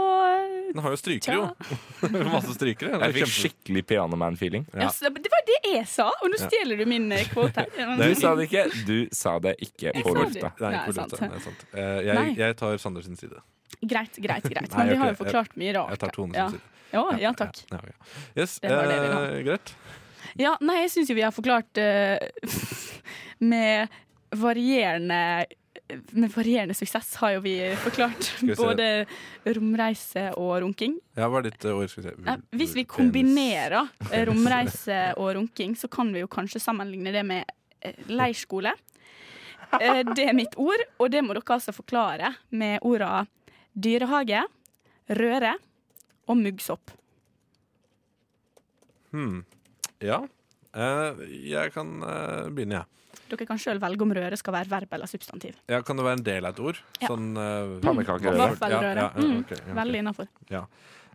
Den har jo strykere, jo. Masse strykere.
Jeg
Det er
fikk
kjempe-
skikkelig pianoman-feeling.
ja. så Det var det jeg sa, og nå
Ja.
stjeler du min eh, kvote. her.
Du sa det ikke. Du sa det ikke
Jeg
på
sa det.
lufta.
Nei,
Nei,
ikke
sant.
sant. Nei, sant. Eh, jeg,
Nei.
jeg tar Sander sin side.
Greit, greit, greit.
Nei,
Men vi har
ok,
jo forklart mye rart.
Jeg tar Tone sin
ja.
side.
Ja, ja, takk.
Ja, ja. Yes,
Det var det vi
eh, greit.
Ja, nei, jeg syns jo vi har forklart eh, med varierende med varierende suksess har jo vi forklart
vi se.
både romreise og runking.
Ja, hva er ditt eh, ord? Skal vi se.
Nei, Hvis vi
Penis.
kombinerer eh, romreise og runking, så kan vi jo kanskje sammenligne det med eh, leirskole. Eh, Det er mitt ord, og det må dere altså forklare med orda dyrehage, røre og muggsopp.
Hmm. Ja. Eh, jeg kan eh, begynne, jeg.
Dere kan sjøl velge om røre skal være verb eller substantiv.
Ja. kan det være en del av et ord?
Ja.
Sånn eh,
Pannekakerøre.
vaffel-
Vaffelrøre.
Ja, ja,
Mm,
ok, ja, ok.
Veldig innafor.
Ja.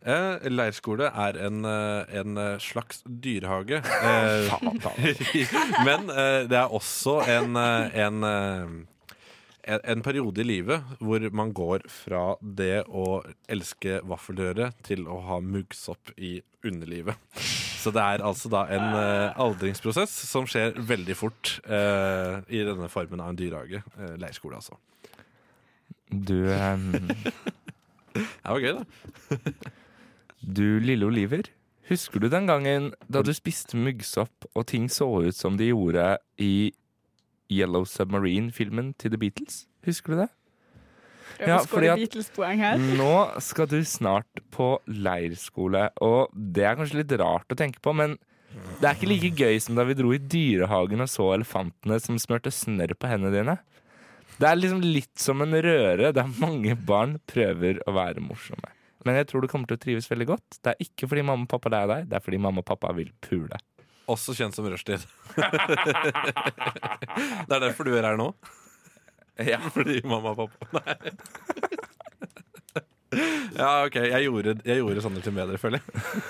Eh, leirskole er en, eh, en eh, slags dyrehage. Eh, men eh, det er også en, eh, en, eh, en, en periode i livet hvor man går fra det å elske vaffelrøre til å ha muggsopp i underlivet. Så det er altså da en eh, aldringsprosess som skjer veldig fort eh, i denne formen av en dyrehage. Eh, leirskole, altså.
Du, ehm, em,
Det var gøy, da.
du lille Oliver. Husker du den gangen da du spiste muggsopp og ting så ut som de gjorde i Yellow Submarine-filmen til The Beatles? Husker du det?
Prøv
Ja,
å
fordi
skåre
at-
Beatles-poeng her.
Nå skal du snart på leirskole, og det er kanskje litt rart å tenke på, men det er ikke like gøy som da vi dro i dyrehagen og så elefantene som smørte snørr på hendene dine. Det er liksom litt som en røre der mange barn prøver å være morsomme. Men jeg tror du kommer til å trives veldig godt. Det er ikke fordi mamma og pappa leier deg, det er fordi mamma og pappa vil pule.
Også kjent som rushtid. det er derfor du er her nå. Ja, fordi mamma og pappa Nei. Ja, OK. Jeg gjorde, jeg gjorde Sander til bedre, føler jeg.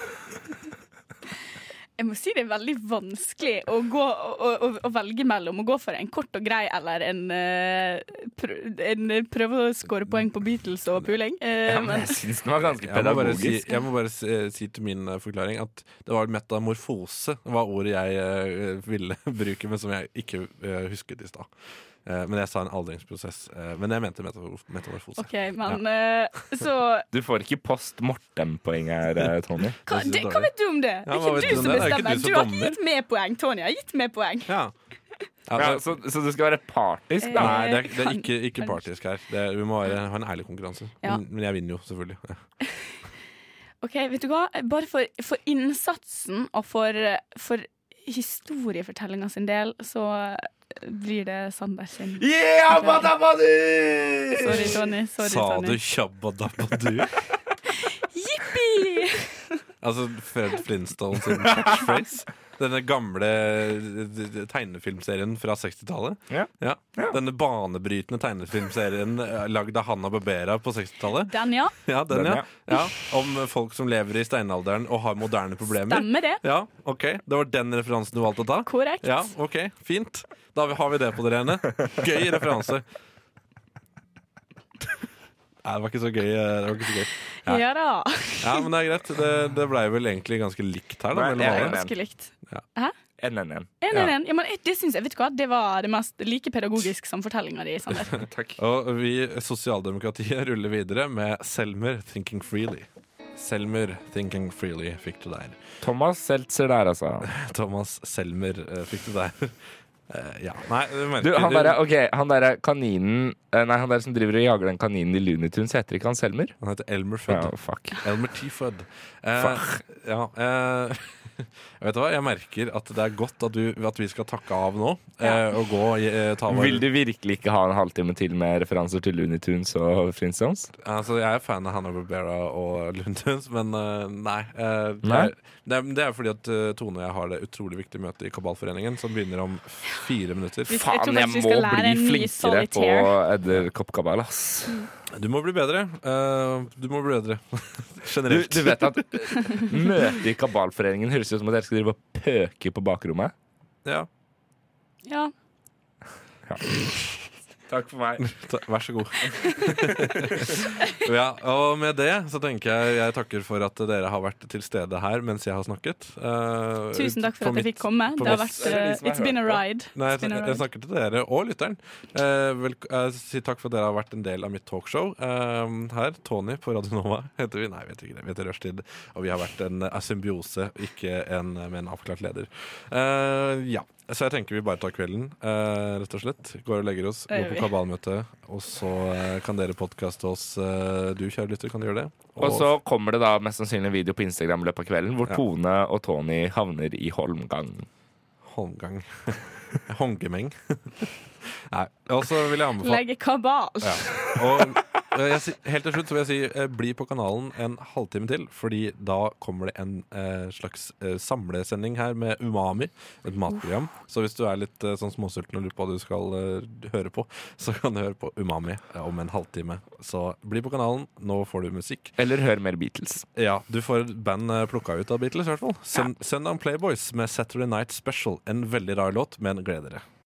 Jeg må si det er veldig vanskelig å, gå, å, å, å velge mellom å gå for en kort og grei eller en, eh, prø en eh, prøve å skåre poeng på Beatles og puling. Eh,
Ja, men
men
jeg syns den var ganske
Jeg må bare, si,
pedagogisk.
jeg må bare si, si til min eh, forklaring at det var metamorfose var ordet jeg eh, ville bruke, men som jeg ikke eh, husket i stad. Eh, men jeg sa en aldringsprosess. eh, men jeg mente metamorf metamorfose.
OK, men eh, så
Du får ikke post mortem-poeng her, eh, Tony.
hva,
synes
det,
det er
hva vet du om det?
Ja,
Det
hva
er
vet
ikke
du om
du som
det? Det er ikke
bestemmer.
du
Du
som
har ikke
dommer.
gitt meg poeng, Tonje. Jeg har gitt meg poeng.
Ja. Ja,
Ja,
det-
så, så du skal være partisk, da?
Nei, det er, det er
Kan-
ikke, ikke
kanskje.
partisk her. Det er, vi må være, ha en ærlig konkurranse.
Ja.
Men, men jeg vinner jo, selvfølgelig. Ja.
OK, vet du hva? Bare for, for innsatsen og for, for historiefortellinga sin del, så blir det Sander sin.
Yeah,
Sorry, Tony. Sorry,
Sa du
Tony.
shabba dabba du?
Jippi!
altså Fred Flintstone sin catchphrase. Denne gamle d- d- tegnefilmserien fra 60-tallet.
Ja.
Denne banebrytende tegnefilmserien eh, lagd av Hanna Barbera på 60-tallet.
Den, ja.
Ja, den,
Den,
ja. ja. Om folk som lever i steinalderen og har moderne problemer.
Stemmer det.
Ja, ok, Det var den referansen du valgte å ta?
Korrekt.
Ja, ok, fint. Da har vi det på det rene. Gøy referanse. Nei, det var ikke så gøy. eh, Det var ikke så gøy. Ja.
Ja, da.
Ja, men det er greit. Det, det blei vel egentlig ganske likt her, da.
Nei,
mellom
jeg er
alle.
enig.
Ganske likt.
En, en, en.
En,
Ja.
en, en. Ja, men det synes jeg, vet du hva, det var det mest like pedagogisk som fortellinga di, Sander.
Takk.
Og vi i sosialdemokratiet ruller videre med Selmer 'Thinking Freely'. Selmer 'Thinking Freely' fikk du der.
Thomas Seltzer der, altså.
Thomas Selmer eh, fikk du der. Eh, ja. Nei, du merker
Du, han derre ok, han der kaninen eh, Nei, han der som driver og jager den kaninen i Looney Tunes, heter ikke han Selmer?
Han heter Elmer Fudd.
Ja, fuck.
Elmer T. Fudd. Eh, ja, eh, vet du hva? Jeg merker at det er godt at, du, at vi skal takke av nå eh, og gå og eh, ta vår
Vil du virkelig ikke ha en halvtime til med referanser til Looney Tunes og Flintstones?
Altså, jeg er fan av Hanna Barbera og Lundens, men eh, nei. eh, det,
Nei?
Er, det, er, det er fordi at eh, Tone og jeg har det utrolig viktige møtet i Kabalforeningen, som begynner om fire minutter.
Vi- jeg tror
Faen, jeg
faktisk vi
må
skal lære
bli
en ny
flinkere på
solitaire.
edderkoppkabal, ass.
Du må bli bedre. eh, du må bli bedre.
Du,
Generelt.
du vet at eh, møtet i Kabalforeningen høres ut som at dere skal drive og pøke på bakrommet?
Ja.
Ja.
Takk for meg.
Ta- Vær så god. ja, og med det så tenker jeg jeg takker for at dere har vært til stede her mens jeg har snakket. Eh,
Tusen takk
på
for at jeg
mitt-
fikk komme.
på
Det har
mitt-
vært, eh, it's been a ride.
Nei,
It's
jeg,
been a
jeg
ride.
snakker til dere og lytteren. Eh, velk- eh, si takk for at dere har vært en del av mitt talkshow eh, her. Tony på Radio Nova heter vi. Nei, vi heter ikke det. Vi heter Rushtid. Og vi har vært en eh, symbiose, ikke en eh, med en avklart leder. Eh, ja. Så jeg tenker vi bare tar kvelden, eh, rett og slett. Går og legger oss,
Det
går
gjør
på
vi.
kabalmøte, og så eh, kan dere podkaste oss. eh, du, kjære lytter, kan du gjøre det.
Og så kommer det da mest sannsynlig en video på Instagram i løpet av kvelden hvor
Ja.
Tone og Tony havner i holmgang.
Holmgang. Hongemeng. Nei. Og så vil jeg anbefale
Legge kabal.
Ja. Og eh, jeg, si- helt til slutt så vil jeg si eh, bli på kanalen en halvtime til, fordi da kommer det en eh, slags eh, samlesending her med Umami, et matprogram. Så hvis du er litt eh, sånn småsulten og lurer på hva du skal eh, høre på, så kan du høre på Umami eh, om en halvtime. Så bli på kanalen, nå får du musikk.
Eller hør mer Beatles.
Ja, du får et band eh, plukka ut av Beatles, i hvert fall. Send, Send on Playboys med Saturday Night Special. En veldig rar låt, men gleder dere.